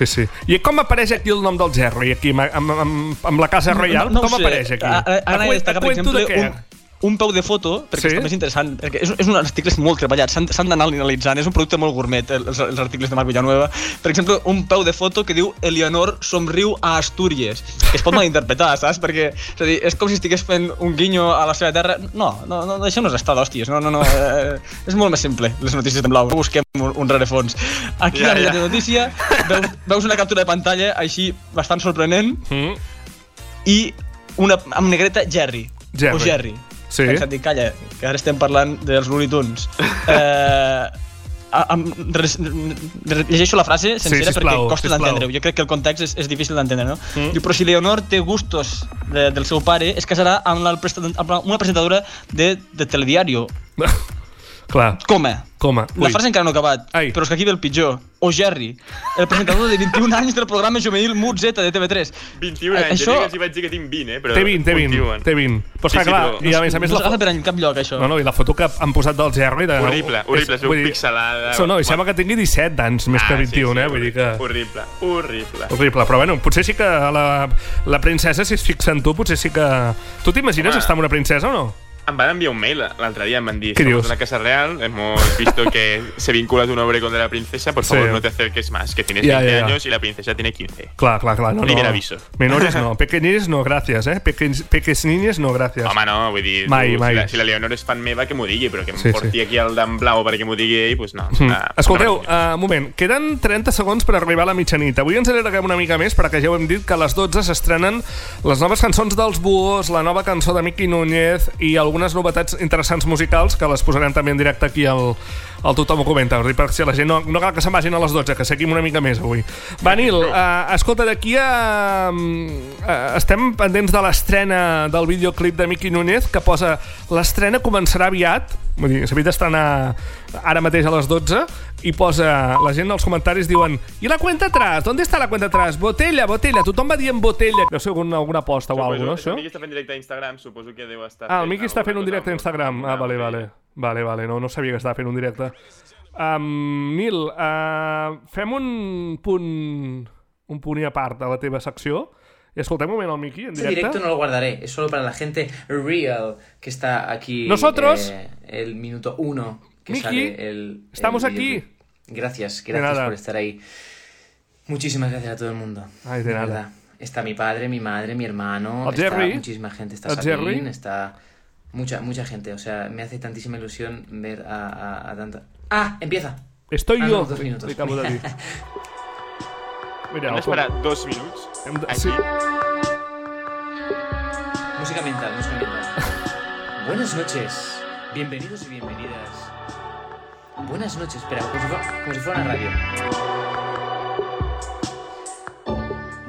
B: sí, sí. I com apareix aquí el nom del Jerry, aquí, amb, amb, amb, amb la Casa Reial?
S: ho
B: com
S: sé.
B: apareix aquí?
S: A- a-
B: A
S: Ara he
B: cuen-
S: destacat,
B: a
S: per
B: cuento de
S: exemple,
B: què?
S: un, un peu de foto, perquè sí? és més interessant, perquè és, és un article molt treballat, s'han s'han d'anar analitzant, és un producte molt gourmet, el- els, els articles de Marc Villanueva. Per exemple, un peu de foto que diu Eleonor somriu a Astúries, que es pot malinterpretar, saps? Perquè és, a dir, és com si estigués fent un guinyo a la seva terra. No, no, no deixem-nos estar d'hòsties, no, no, no. Eh, és molt més simple, les notícies en blau, no busquem un, un rerefons. Aquí
C: Ja,
S: ja, ja.
C: ja.
S: la notícia, veus, veus una captura de pantalla així bastant sorprenent,
B: mm.
S: i una, amb negreta Jerry.
B: Jerry.
S: O Jerry.
B: Sí.
S: Pensat, dic, calla, que ara estem parlant dels Looney Tunes. eh, a- amb, res, re- llegeixo la frase
B: Sí,
S: sencera
B: sisplau,
S: perquè costa
B: sisplau.
S: d'entendre-ho. Jo crec que el context és, és difícil d'entendre, no? Mm. Diu, però si Leonor té gustos de, del seu pare, es casarà amb, la, presta- amb la- una presentadora de, de Telediario.
B: Clar.
S: Coma.
B: Coma.
S: La frase encara no ha acabat, Ai. però és que aquí ve el pitjor. O Jerry, el presentador de 21 anys del programa juvenil Mut Z de TV3.
C: 21 anys,
S: Eh, Això-
C: això... jo els hi vaig dir que tinc 20, eh? Però
B: Té 20, té 20,
C: continuen.
B: té 20. Però
C: Sí,
B: està
C: sí,
B: clar,
C: però-
B: i a més a més...
C: No s'agafa
S: per en cap lloc, això.
B: No, no, i la foto que han posat del Jerry... De...
C: Horrible, horrible, es veu
B: vull dir-
C: pixelada.
B: So, no, i sembla que tingui 17 anys, més que
C: Ah, sí,
B: 21,
C: sí,
B: eh? Vull dir que...
C: Horrible, horrible.
B: Horrible, però bueno, potser sí que la, la princesa, si es fixa en tu, potser sí que... Tu t'imagines
C: Home.
B: estar amb una princesa o no?
C: Em van enviar un mail l'altre dia, em van dir
B: Què
C: "Somos
B: dius?
C: de la Casa Real, hemos visto que se vincula tu nombre con de la princesa, por
B: Sí.
C: favor no te acerques más, que tienes 20
B: Ya, ya, ya.
C: años y la princesa tiene 15.
B: Clar, clar, clar. No,
C: Primer
B: no.
C: aviso.
B: Menores no. Pequeñines no, gràcies, eh? Pequeñs, peques niñes no, gràcies.
C: Home, no, vull dir,
B: Mai,
C: tu,
B: mai.
C: Si, la, si la Leonor és fan meva, que m'ho digui, però que em
B: Sí, sí.
C: porti aquí el d'en blau perquè m'ho digui ell, doncs no.
B: Mm.
C: Ah,
B: Escolteu, eh, un moment, queden 30 segons per arribar a la mitjanit. Avui ens allarguem una mica més perquè ja ho hem dit que a les 12 s'estrenen les noves cançons dels Buos, la nova cançó de Miqui Núñez i algunes novetats interessants musicals que les posarem també en directe aquí al, al Tothom ho comenta. Vull dir, Per si la gent no, no cal que se'n vagin a les 12, que seguim una mica més avui. Vanil, eh, escolta, d'aquí a... Eh, estem pendents de l'estrena del videoclip de Miqui Núñez que posa l'estrena començarà aviat Vull dir, s'havia d'estrenar ara mateix a les 12 i posa, la gent als comentaris diuen i la cuenta atrás, ¿dónde está la cuenta atrás? Botella, botella, tothom va dient botella. No sé, alguna, alguna aposta o alguna
C: Suposo,
B: cosa,
C: el
B: no?
C: Miqui està fent directe a Instagram, suposo que deu estar...
B: Ah, el Miqui està fent un directe a Instagram. Ah, vale, vale. Vale, vale, no, no sabia que estava fent un directe. Um, Nil, uh, fem un punt, un punt i a part a la teva secció i escoltem un moment el Miqui en
T: Este
B: directe.
T: directo no lo guardaré, es solo para la gente real que está aquí.
B: Nosotros.
T: eh, el minuto uno que
B: Miki,
T: sale el.
B: estamos
T: el
B: aquí.
T: videoclip. Gracias,
B: De
T: gracias
B: nada.
T: por estar ahí. Muchísimas gracias a todo el mundo.
B: Ay, Ah, de nada.
T: verdad. Está mi padre, mi madre, mi hermano,
B: Al
T: está
B: Jerry.
T: muchísima gente, está
B: Al
T: Sabine,
B: Jerry.
T: está mucha, mucha gente. O sea, me hace tantísima ilusión ver a, a- a tanta. ¡Ah! ¡Empieza!
B: Estoy
T: Ah, no,
B: yo,
T: dos minutos.
B: li acabo de dir. Mira,
C: Hem
B: el-
C: d'esperar dos minuts.
B: Hem de-
C: Aquí.
B: sí.
T: Música mental, música mental. Buenas noches, bienvenidos y bienvenidas. Buenas noches, espera, como si, fuera, como si fuera una radio.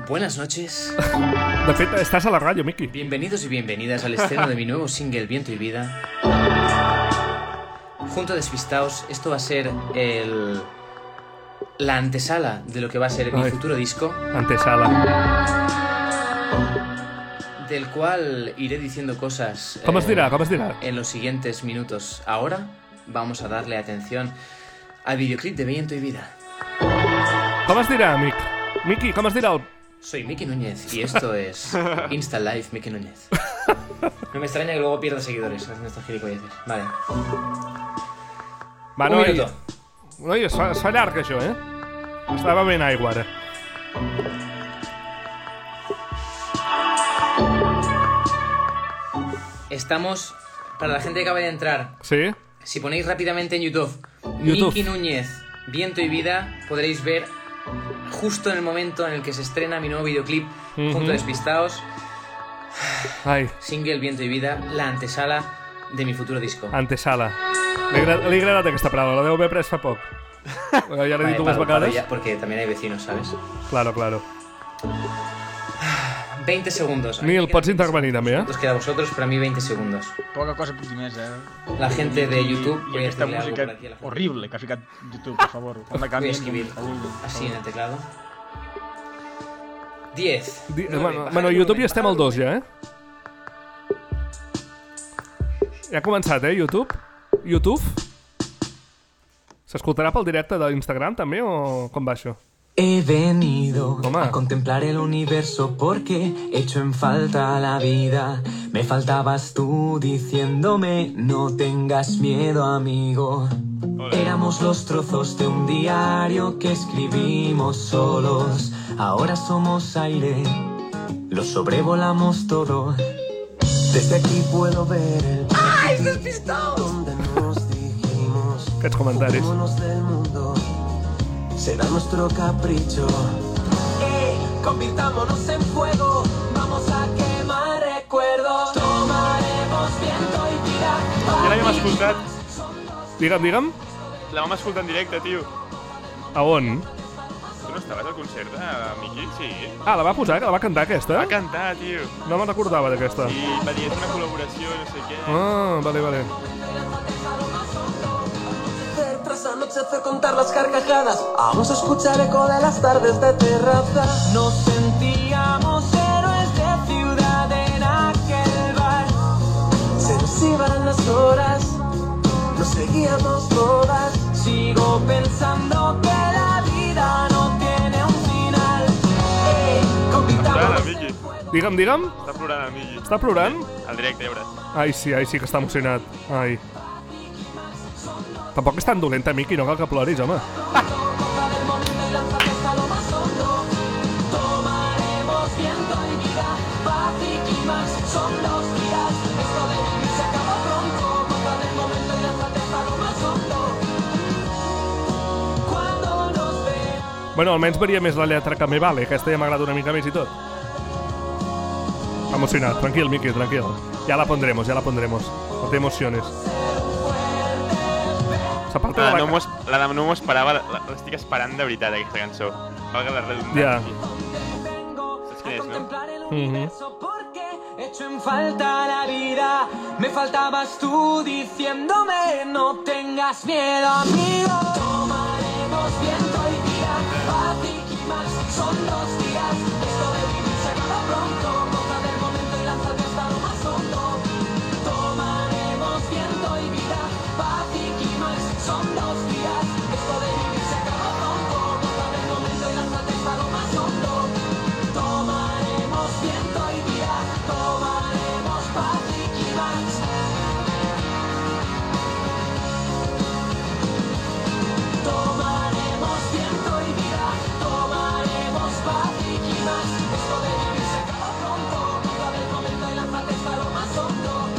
T: Buenas noches.
B: De fet, estàs a la ràdio, Miqui.
T: Bienvenidos y bienvenidas al estreno de mi nuevo single Viento y Vida. Junto a Despistaos, esto va a ser el. la antesala de lo que va a ser mi
B: Ay.
T: futuro disco.
B: Antesala.
T: del cual iré diciendo cosas. eh,
B: Com es dirà, com es dirà?
T: En los siguientes minutos. Ahora vamos a darle atención al videoclip de Viento y Vida.
B: Com es dirà, amic? Miki, com es dirà el...
T: Soy Miki Núñez y esto es Insta Live Miki Núñez. No me extraña que luego pierda seguidores haciendo estas gilipolleces. Vale.
B: Va,
T: Un
B: no,
T: minuto.
B: No, es fa, es fa llarg, això, eh? Estava ben aigua, ara.
T: Estamos. Para la gente que acaba de entrar,
B: Sí?
T: Si ponéis rápidamente en YouTube,
B: YouTube.
T: Miki Núñez, Viento y Vida, podréis ver justo en el momento en el que se estrena mi nuevo videoclip,
B: Ujú.
T: Punto Despistados,
B: Ai,
T: single Viento y Vida, la antesala de mi futuro disco.
B: antesala. Li, agra li ha agradat aquesta paraula, la deu haver pres fa poc. Bueno, ja l'he dit
T: Vale,
B: dues
T: paro, paro
B: vegades.
T: ya, porque también hay vecinos, ¿sabes?
B: Claro, claro.
T: 20 segundos.
B: Nil, pots intervenir també, eh?
T: Os queda a vosotros, para mí 20 segundos.
S: Poca cosa puc dir més, eh?
T: La gente de YouTube,
S: I
T: voy a
S: aquesta
T: decirle algo
S: música
T: por aquí a la gente.
S: horrible que ha ficat YouTube, per favor. Quan la
T: Voy a
S: canvien...
T: escribir así en el teclado. 10.
B: Di eh, bueno, bueno, YouTube ja estem al 2, ja, eh? Ja ha començat, eh, YouTube? YouTube? S'escoltarà pel directe d'Instagram, també, o com va això?
U: He venido a contemplar el universo porque echo en falta la vida. Me faltabas tú diciéndome no tengas miedo amigo. Éramos los trozos de un diario que escribimos solos. Ahora somos aire, lo sobrevolamos todo. Desde aquí puedo ver el... ¡Ay, donde nos dijimos
B: Aquests comentaris.
U: Ocupémonos del mundo será nuestro capricho. Eh, convirtámonos en fuego, vamos a quemar recuerdos. Tomaremos viento y vida.
B: Ja l'havíem escoltat. Digue'm, digue'm,
C: La vam escoltar en directe, tio.
B: a on?
C: Tu no estaves al concert de Miqui? Sí.
B: Ah, la va posar, que la va cantar, aquesta?
C: Va cantar, tio.
B: No me'n recordava, d'aquesta.
C: I va dir, és una col·laboració, no sé què.
B: Ah, vale, vale.
U: Tras anochecer contar las carcajadas, vamos a escuchar eco de las tardes de terraza. Nos sentíamos héroes de ciudad en aquel bar. Se nos iban las horas, nos seguíamos todas. Sigo pensando que la vida no tiene un final. Eh,
C: Plorant,
U: convirtámonos
C: Miqui.
B: Digue'm, digue'm.
C: Està plorant, Miqui.
B: Està plorant?
C: Al directe, ja veuràs.
B: Ai, sí, ai, sí, que està emocionat. Ai. Tampoc és tan dolenta, Miqui, no cal que ploris, home.
U: Tomaremos viento y vida, Patrick y Max son los guías. Esto de vivir se acaba pronto, mata del momento y lánzate para lo más hondo. Cuando nos veamos
B: Bueno, almenys varia més la lletra que me vale, aquesta ja m'agrada una mica més i tot. Està Emocionat, tranquil, Miqui, tranquil. Ja la pondremos, ja la pondremos. No te emociones. S'aparta
C: La,
B: de la...
C: de Ah, no m'ho es- la de no m'ho esperava, la- l'estic esperant de veritat, aquesta cançó. Valga la redundància.
B: Ja.
C: Saps quina és, no?
B: Mhm.
U: hecho en falta la vida, me faltabas tú diciéndome no tengas miedo amigo. Tomaremos viento y vida, Patrick y Max son los guías. Esto de vivir se acaba pronto, mata del momento y lánzate hasta lo más hondo. Tomaremos viento y vida, Patrick y Max son los guías. Esto de vivir se acaba pronto, mata del momento y lánzate hasta lo más hondo. Tomaremos viento y vida, tomaremos Patrick y Max. Tomaremos viento y vida, tomaremos paz y quizás esto de vivir se acaba pronto. Viva el momento y lánzate hasta lo más hondo.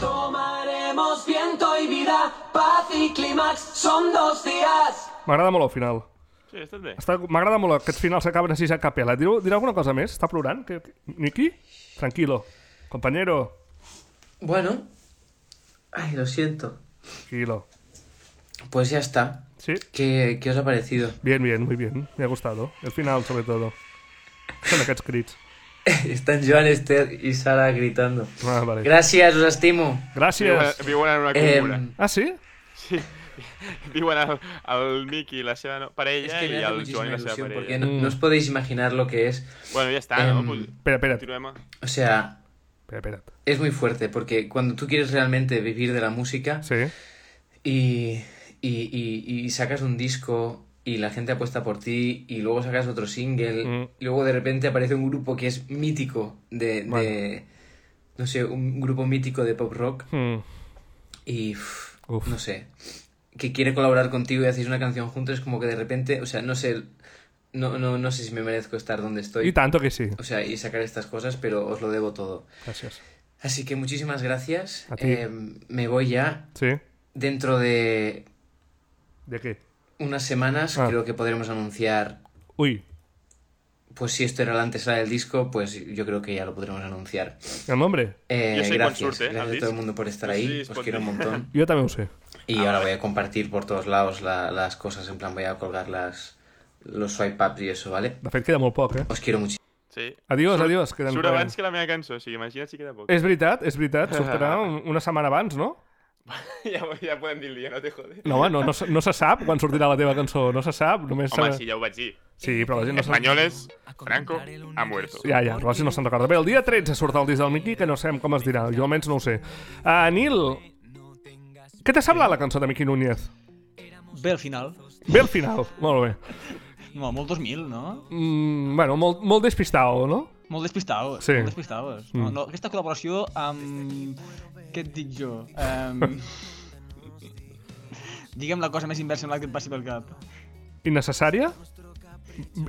U: Tomaremos viento y vida, paz y clímax son dos días.
B: M'agrada molt el final.
C: Sí, ha estat bé.
B: Està... M'agrada molt aquests finals que acaben així a capella. Direu, dirà alguna cosa més? Està plorant? Que... Miqui? Tranquilo. Compañero.
T: Bueno. Ay, lo siento.
B: Tranquilo.
T: Pues ya está.
B: Sí.
T: ¿Qué, qué os ha parecido?
B: Bien, bien, muy bien. Me ha gustado. El final, sobre todo. Són aquests crits.
T: Están Joan, Esther y Sara gritando.
B: Ah, vale.
T: Gracias, os estimo.
B: Gràcies.
C: Viuen- viuen en una
T: Eh,
C: cúpula.
B: Ah, sí?
C: Sí. Diuen el, el Miqui i la seva no- parella
T: que me
C: i
T: hace
C: el
T: muchísima
C: Joan i la seva
T: ilusión
C: parella.
B: Mm.
T: porque no, no os podéis imaginar lo que es.
C: Bueno, ya está, ¿no? Pues
B: Espera, espera.
C: Continuem.
T: O sea,
B: Espera, espera.
T: Es muy fuerte porque cuando tú quieres realmente vivir de la música y, y, y- y sacas un disco y la gente apuesta por ti y luego sacas otro single
B: Mm.
T: y luego de repente aparece un grupo que es mítico de, de- no sé, un grupo mítico de pop rock
B: Mm.
T: y uf, no sé que quiere colaborar contigo y hacéis una canción juntos es como que de repente o sea no sé no, no, no sé si me merezco estar donde estoy
B: Y tanto que sí.
T: o sea y sacar estas cosas pero os lo debo todo
B: Gracias.
T: así que muchísimas gracias
B: A ti.
T: Eh, me voy ya
B: Sí.
T: dentro de
B: ¿De qué? Ah.
T: unas semanas creo que podremos anunciar
B: uy
T: pues si esto era la antesala del disco pues yo creo que ya lo podremos anunciar
B: El nombre?
T: Eh,
C: Jo sé quan
T: gracias
C: surt, eh, el
T: gracias a
C: disc.
T: todo el mundo por estar
C: No sé
T: ahí
C: si es
T: os
C: pot
T: quiero un
C: dir.
T: montón
B: Jo també ho sé.
T: Y ahora voy a compartir por todos lados la- las cosas, en plan voy a colgar las, los swipe ups y eso, ¿vale?
B: De fet, queda molt poc, eh?
T: Os quiero muchísimo.
C: Sí.
B: Adiós,
C: surt,
B: adiós, queden
C: Surt
B: quan.
C: abans que la meva cançó, o sigui, imagina't si queda poc.
B: És veritat, és veritat. Sortirà un- una setmana abans, no?
C: ja, ja podem dir el dia, no te jode.
B: No, home, no, no, se- no se sap quan sortirà la teva cançó. No se sap, només...
C: Home,
B: se-
C: sí, ja ho vaig dir.
B: Sí, però la gent no se'n-
C: Españoles, Franco ha muerto.
B: Ja, ja, però si no se'n recorda. Bé, el dia 13 surt el disc del Miqui, que no sabem com es dirà. Jo almenys no ho sé. Uh, Nil, què t'ha semblat la cançó de Miqui Núñez?
S: Bé, al final.
B: Bé al final, molt bé.
S: No, molt 2000, no?
B: Mm, bueno, molt, molt despistado, no?
S: Molt despistados,
B: Sí.
S: molt despistados. No,
B: Mm.
S: no, aquesta col·laboració amb... Què et dic jo? Um... Digue'm la cosa més inversemblant que et passi pel cap.
B: Innecessària?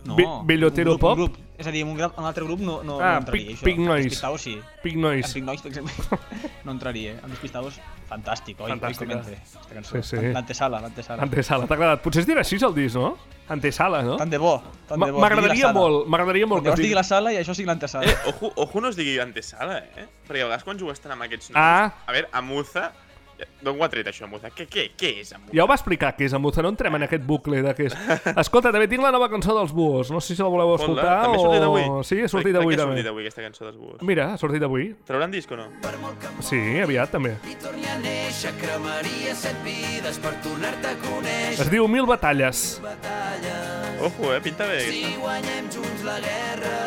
S: No,
B: Be- Bellotero
S: un grup,
B: pop?
S: Un grup. És a dir, un, gra- un altre grup no, no,
B: Ah,
S: no entraria,
B: Pig-
S: això.
B: Pig Noise.
S: Despistados, sí.
B: Pig Noise.
S: Amb Pig Noise, per exemple. no entraria. eh. Amb Despistados, fantàstic, oi?
B: Fantàstica.
S: Fantàstica. Aquesta
B: Sí,
S: cançó.
B: eh. sí.
S: L'antesala, l'antesala.
B: Antesala, t'ha agradat. Potser es dirà així el disc, no? Antesala, no?
S: Tant de bo, tant de
B: M-
S: bo. Digui
B: M'agradaria
S: la sala.
B: molt, m'agradaria molt
S: Llavors
B: que
S: digui la sala i això sigui l'antesala.
C: Eh, ojo, ojo no es digui antesala, eh? Perquè a vegades quan jugues tant amb aquests noms...
B: Ah.
C: A veure, Amuza... D'on ho ha tret això, Amuza? Què, què, què és Amuza?
B: Ja ho va explicar, que és amb Buza, no entrem en aquest bucle de què és. Escolta, també tinc la nova cançó dels Buos, no sé si la voleu
C: Hola,
B: escoltar
C: també ha sortit avui.
B: o... Sí, ha
C: Per-
B: sortit
C: per
B: avui
C: què ha sortit
B: també.
C: avui aquesta cançó dels buos?
B: Mira, ha sortit avui.
C: Trauran disc o no?
B: Sí, aviat també.
V: torni a néixer, cremaria set vides per tornar-te a
B: Es
V: conèixer.
B: diu Mil Batalles.
C: Ojo, eh? Pinta bé. aquesta.
V: Si guanyem junts la guerra.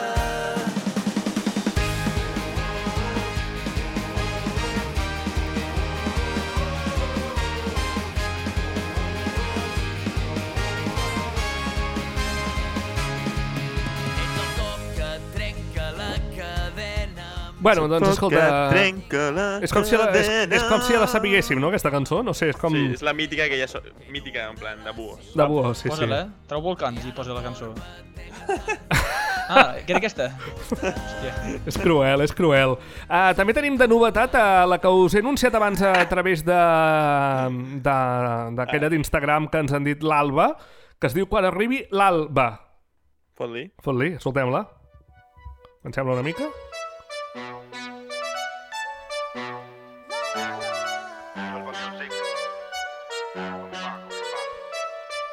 V: Ets el cop que trenca la cadena.
B: Bueno, doncs
C: Tot
B: escolta...
C: que trenca la
B: És com si la, és,
C: cadena.
B: és com si la sabiguéssim, no, aquesta cançó? No sé, és com...
C: Sí, és la mítica que ja... So... Mítica, en plan, de buos.
B: De Buos, sí, sí.
S: Posa-la, eh? Trau volcans i posa la cançó. ah, que era aquesta? Hòstia.
B: És cruel, és cruel. Uh, també tenim de novetat uh, la que us he anunciat abans a través de- de- d'aquella d'Instagram que ens han dit l'Alba, que es diu Quan arribi l'Alba.
C: Pot dir?
B: Fot-li, escoltem-la. Em sembla una mica?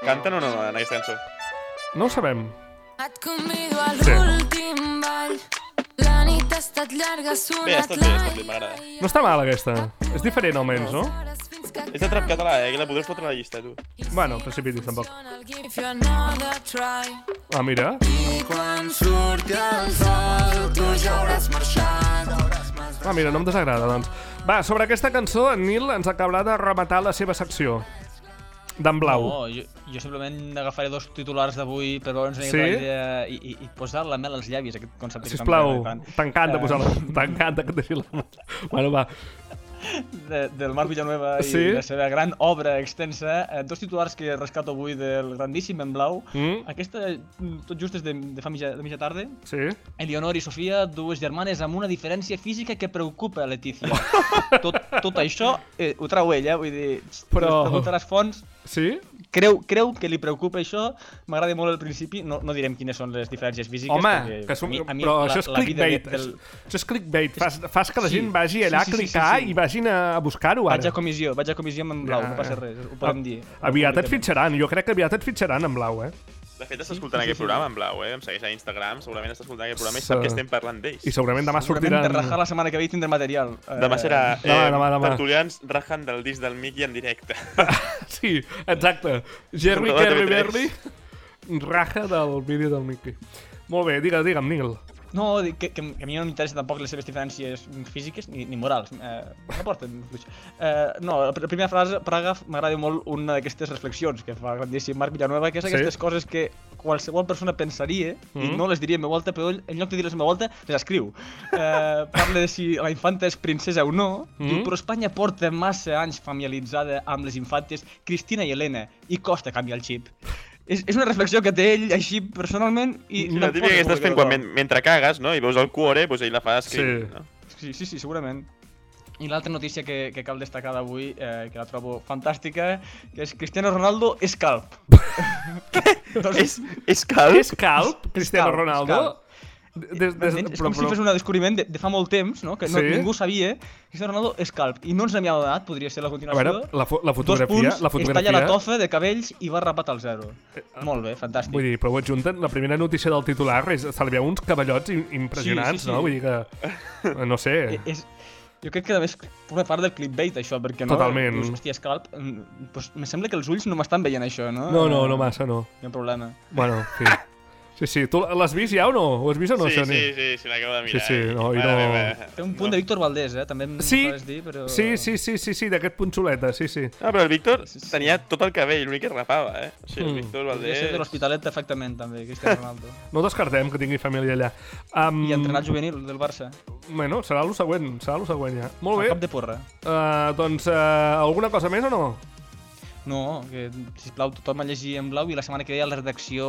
C: Canten o no en aquesta cançó?
B: No ho sabem.
G: Et convido al
B: Sí.
G: últim ball. La nit ha estat llarga,
C: Bé,
G: ha sonat
C: està bé, està bé, m'agrada.
B: No està mal, aquesta. És diferent, almenys, no?
C: És de trap català, eh? Que la podràs fotre a la llista, tu.
B: Bueno, precipitis, tampoc.
G: I'll give you another try.
B: Ah, mira.
G: I quan surti el sol, tu ja hauràs marxat.
B: Ah, mira, no em desagrada, doncs. Va, sobre aquesta cançó, en Nil ens acabarà de rematar la seva secció. D'en Blau.
S: No, jo, jo simplement agafaré dos titulars d'avui per veure'ns una
B: Sí?
S: mica la idea i, i, i posar la mel als llavis, aquest concepte. que
B: Sisplau,
S: tant m'agrada
B: t'encanta
S: Eh,
B: posar-la. T'encanta que et deixi la... Bueno, va.
S: De, del Marc Villanueva i
B: Sí?
S: la seva gran obra extensa. Eh, dos titulars que rescato avui del grandíssim en blau.
B: Mm.
S: Aquesta, mm, tot just és de, de fa mitja, de mitja tarda.
B: Sí?
S: Eleonor i Sofia, dues germanes amb una diferència física que preocupa a Letícia. tot, tot això eh, ho trau ell, eh? Vull dir,
B: Però-
S: pregunta a les fonts...
B: Sí?
S: Creu, creu que li preocupa això? M'agrada molt al principi, no, no direm quines són les diferències físiques.
B: Home,
S: perquè
B: que som...
S: a mi, a mi
B: però
S: la,
B: això és
S: la vida
B: clickbait.
S: de- del-
B: Això- Això és clickbait. Fas, fas que la
S: Sí,
B: gent vagi allà a
S: sí, sí, sí,
B: clicar
S: sí.
B: i vagin a, a buscar-ho ara.
S: Vaig a comissió, vaig a comissió amb en blau,
B: Ja,
S: no passa
B: ja. Ah,
S: res, ho podem dir.
B: Aviat et fitxaran, jo crec que aviat et fitxaran en blau, eh?
C: De fet, està escoltant aquest programa en blau, eh? Em segueix a Instagram, segurament està escoltant aquest programa i sap que estem parlant d'ells.
B: I segurament demà
S: Segurament
B: sortiran...
S: de rajar la setmana que ve i tindrem material.
C: Demà serà eh,
B: Demà, demà, demà.
C: tertulians rajan del disc del Mickey en directe.
B: Sí, exacte. Jerry
C: Programa de
B: Kerry
C: TV3.
B: Berry raja del vídeo del Mickey. Molt bé, digue'm, digue'm, Nil.
S: No, dic que, que, que a mi no m'interessa tampoc les seves diferències físiques ni, ni morals. Eh, no porten fluix. Eh, no, la pr- primera frase, Praga, m'agrada molt una d'aquestes reflexions que fa el grandíssim Marc Villanueva, que és
D: Sí.
S: aquestes coses que qualsevol persona pensaria
D: Mhm.
C: Mm.
S: i no les diria en meu volta, però ell, en lloc de dir-les en meu volta, les escriu. Eh, parla de si la infanta és princesa o no,
C: Mm.
D: Mhm.
S: diu, però Espanya porta massa anys familiaritzada amb les infantes Cristina i Helena i costa canviar el xip. És, és una reflexió que té ell així personalment i...
C: La típica que estàs fent quan, men- mentre cagues, no? I veus el cuore, doncs ell la fa escriure,
S: Sí.
C: no?
S: Sí, sí, sí, segurament. I l'altra notícia que, que cal destacar d'avui, eh, que la trobo fantàstica, que és Cristiano Ronaldo és calp. doncs, és,
C: és calp?
B: És calp, Cristiano Ronaldo? Des- des-
S: és
B: però-
S: com si
B: però-
S: fos un descobriment de, de fa molt temps, no? que no,
B: Sí?
S: ningú sabia. Cristiano Ronaldo és calp. I no ens n'havíem donat, podria ser la
B: A
S: continuació.
B: veure, la, fo- la fotografia...
S: Dos punts,
B: la
S: es
B: fotografia Eh,
S: talla la tofa de cabells i va rapat al zero. Molt bé, fantàstic.
B: Vull dir, però ho adjunten, la primera notícia del titular és, se li veu uns cavallots im- impressionants,
S: Sí, sí, sí.
B: no? Vull dir que... No sé...
S: Eh, És, jo crec que a més forma part del clickbait això, perquè no...
B: Totalment.
S: Dius, hòstia, Scalp, mm, doncs me sembla que els ulls no m'estan veient això, no?
B: No, no, no massa, no.
S: Hi ha un problema.
B: Bueno, en fi. Sí, sí, tu l'has vist ja o no? Ho has vist o no,
C: Sí,
B: Xoni?
C: sí, sí, sí, l'acabo de mirar,
B: Sí, sí,
C: eh?
B: no, i
C: Mare
B: no...
C: meva.
S: Té un punt de Víctor Valdés, eh? També em
B: Sí,
S: pots dir, però...
B: sí, sí, sí, sí, sí d'aquest punxoleta, sí, sí.
C: Ah, però el Víctor tenia tot el cabell, l'únic que es rapava, eh? O sigui, el
B: Mm.
C: Víctor
S: Podria ser de
C: Valdés...
S: l'Hospitalet perfectament, també, Cristiano Ronaldo.
B: No descartem que tingui família allà. Um,
S: I entrenat juvenil del Barça.
B: Bueno, serà el següent, serà el següent ja. Molt
S: A
B: bé.
S: cap de porra.
B: Uh, doncs, uh, alguna cosa més o no?
S: No, que, sisplau, tothom a llegir en blau i la setmana que ve a la redacció,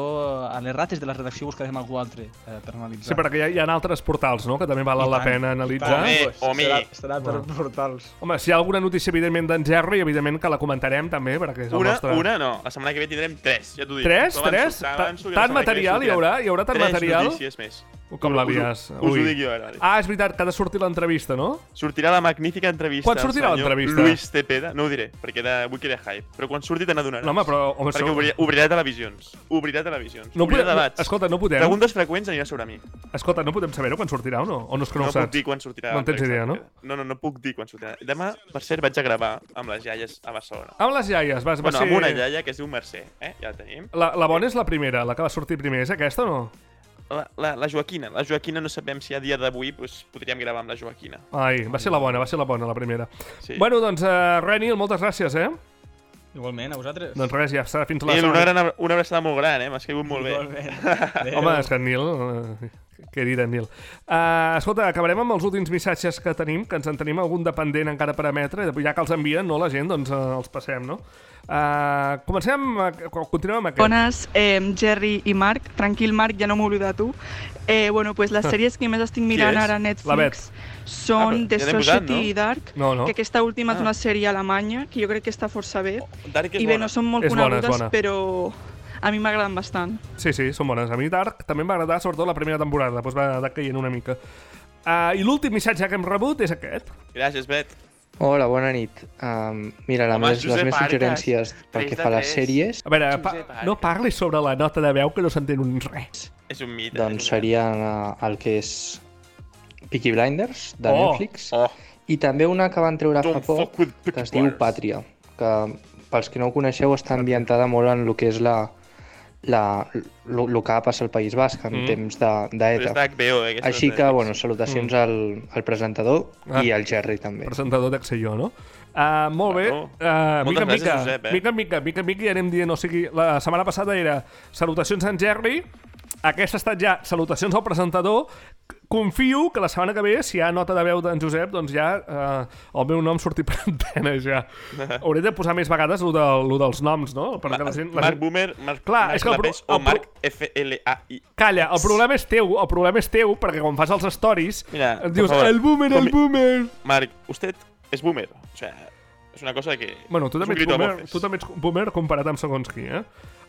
S: a les rates de la redacció buscarem algú altre eh, per analitzar.
B: Sí, perquè hi ha, hi ha altres portals, no?, que també
S: I
B: valen la
S: tant,
B: pena
S: i
B: analitzar. Doncs
S: tant. Serà, serà per
B: Bueno.
S: portals.
B: Home, si hi ha alguna notícia, evidentment, d'en Gerri, evidentment que la comentarem també, perquè és el
C: Una,
B: nostre...
C: una no, la setmana que ve tindrem tres, ja t'ho dic.
B: Tres?
C: T'ho avanço,
B: Tres?
C: t'avanço que la
B: Tant
C: setmana que ve
B: material hi
C: sortiran
B: haurà? Hi haurà tant
C: tres
B: material?
C: notícies més.
B: Com
C: Us-
B: l'havies.
C: us ho- Us ho dic jo ara.
B: Ah, és veritat, que ha de sortir l'entrevista, no?
C: Sortirà la magnífica entrevista
B: Quan
C: al
B: sortirà
C: senyor
B: l'entrevista?
C: Luis Cepeda, no ho diré, perquè de, vull crear hype, però quan surti te n'adonaràs.
B: No, home, però- home,
C: perquè
B: sou-
C: obrirà, obrirà televisions, obrirà televisions,
B: No
C: obrirà
B: podem- no,
C: debats.
B: escolta, no podem-
C: Preguntes freqüents anirà sobre mi.
B: Escolta, no podem saber-ho quan sortirà o no? O no és que no,
C: no
B: ho saps?
C: puc dir quan sortirà.
B: No en tens idea,
C: l'entrevista.
B: no?
C: No, no, no puc dir quan sortirà. Demà, per cert, vaig a gravar amb les iaies a Barcelona.
B: Amb les iaies, vas, va
C: bueno,
B: ser...
C: amb una iaia que es diu Mercè, eh? Ja la tenim.
B: La, la bona és la primera, la que va sortir primer. És aquesta o no?
C: La, la, la Joaquina. La Joaquina no sabem si a dia d'avui doncs, podríem gravar amb la Joaquina.
B: Ai, va ser la bona, va ser la bona, la primera.
C: Sí.
B: Bueno, doncs, uh, Renil, moltes gràcies, eh?
S: Igualment, a vosaltres.
B: Doncs res, ja serà fins la
C: Nil, una,
B: setmana.
C: gran, abra- una abraçada molt gran, eh? M'has caigut molt bé.
S: Igualment.
B: Home, és que en Nil... eh, Què dir en Nil? Uh, escolta, acabarem amb els últims missatges que tenim, que ens en tenim algun dependent encara per emetre, i ja que els envien, no, la gent, doncs eh, els passem, no? Uh, comencem, amb, aqu- continuem amb aquest.
F: Bones, eh, Jerry i Marc. Tranquil, Marc, ja no m'he oblidat tu. Eh, bueno, pues les
B: Ah.
F: sèries que més estic
B: Qui
F: mirant
B: és?
F: ara a
B: La Bet.
F: Netflix
B: Ah,
F: són
B: però
F: The
B: ja l'hem
F: Society
B: posat, no?
F: i Dark,
B: No, no.
F: que aquesta última
B: Ah. Oh,
F: és una sèrie alemanya, que jo crec que està força bé.
C: Dark és
F: I bé,
C: bona.
F: no són molt
B: És bona, és
F: conegudes,
B: bona.
F: però a mi m'agraden bastant.
B: Sí, sí, són bones. A mi Dark també em va agradar, sobretot la primera temporada, doncs va anar caient una mica. Uh, I l'últim missatge que hem rebut és aquest.
C: Gràcies, Bet.
W: Hola, bona nit. Um, mira, la
B: Home,
W: més, les
B: Josep
W: meves
B: Arcas,
W: sugerències pel
B: tres
W: que
B: de
W: fa a les
B: tres.
W: sèries...
B: A veure, pa no parlis sobre la nota de veu que no s'entén un res.
C: És un mite.
W: Doncs serien eh, el que és Peaky Blinders, de
B: Oh,
W: Netflix, i també una que van treure fa poc, que es diu Pàtria, que pels que no ho coneixeu està ambientada molt en el que és la la, lo, lo que va passar al País Basc en
C: Mm.
W: mm. temps de-
C: Però és
W: d'ETA.
C: d'HBO, eh, aquesta
W: Així
C: de
W: que,
C: Netflix.
W: bueno, salutacions
B: Mm.
W: mm. al, al presentador
B: Ah.
W: i al Jerry també.
B: Presentador d'Axelló, no? Uh, molt bé,
W: Bueno,
B: uh, mica en
W: moltes gràcies,
B: mica,
W: Josep, eh?
B: mica en mica, mica en mica i anem dient, o sigui, la setmana passada era salutacions a en Jerry, aquesta ha estat ja salutacions al presentador, confio que la setmana que ve, si hi ha nota de veu d'en Josep, doncs ja uh, el meu nom sortir per antena ja. Hauré de posar més vegades lo, de, lo dels noms, no? Perquè la gent... La
C: Marc
B: gent...
C: Boomer, Marc,
B: Clar,
C: Marc
B: és que el pro-
C: Clapés
B: el
C: o
B: pro-
C: Marc F-L-A-I.
B: Calla, el problema és teu, el problema és teu, perquè quan fas els stories
C: Mira, per
B: dius,
C: favor,
B: el boomer,
C: com-
B: el boomer...
C: Marc, usted es boomer. O sea, es una cosa que...
B: Bueno, tu
C: es un
B: també, ets
C: grito a
B: boomer,
C: voces.
B: tu també ets boomer comparat amb segons qui, eh?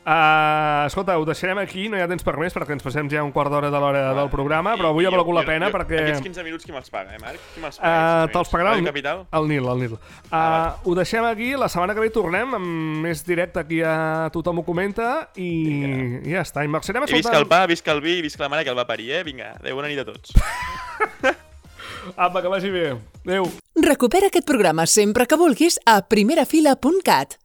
B: Uh, escolta, ho deixarem aquí, no hi ha temps per més perquè ens passem ja un quart d'hora de l'hora del programa, però avui
C: I
B: ha
C: jo-
B: valgut la
C: jo-
B: pena
C: jo-
B: perquè...
C: Aquests 15 minuts qui me'ls paga, eh, Marc? Qui me'ls paga?
B: Uh, Te'ls pagarà
C: el...
B: el,
C: Capital? Ah,
B: el Nil, el Nil. Uh, ho deixem aquí, la setmana que ve tornem amb més directe aquí a Tothom ho comenta i ja està. I marxarem
C: I visca el
B: escoltant...
C: pa, visca el vi, visca la mare que el va parir, eh? Vinga, adéu, bona nit a tots.
B: Apa, que vagi bé. Adéu.
A: Recupera aquest programa sempre que vulguis a primerafila.cat.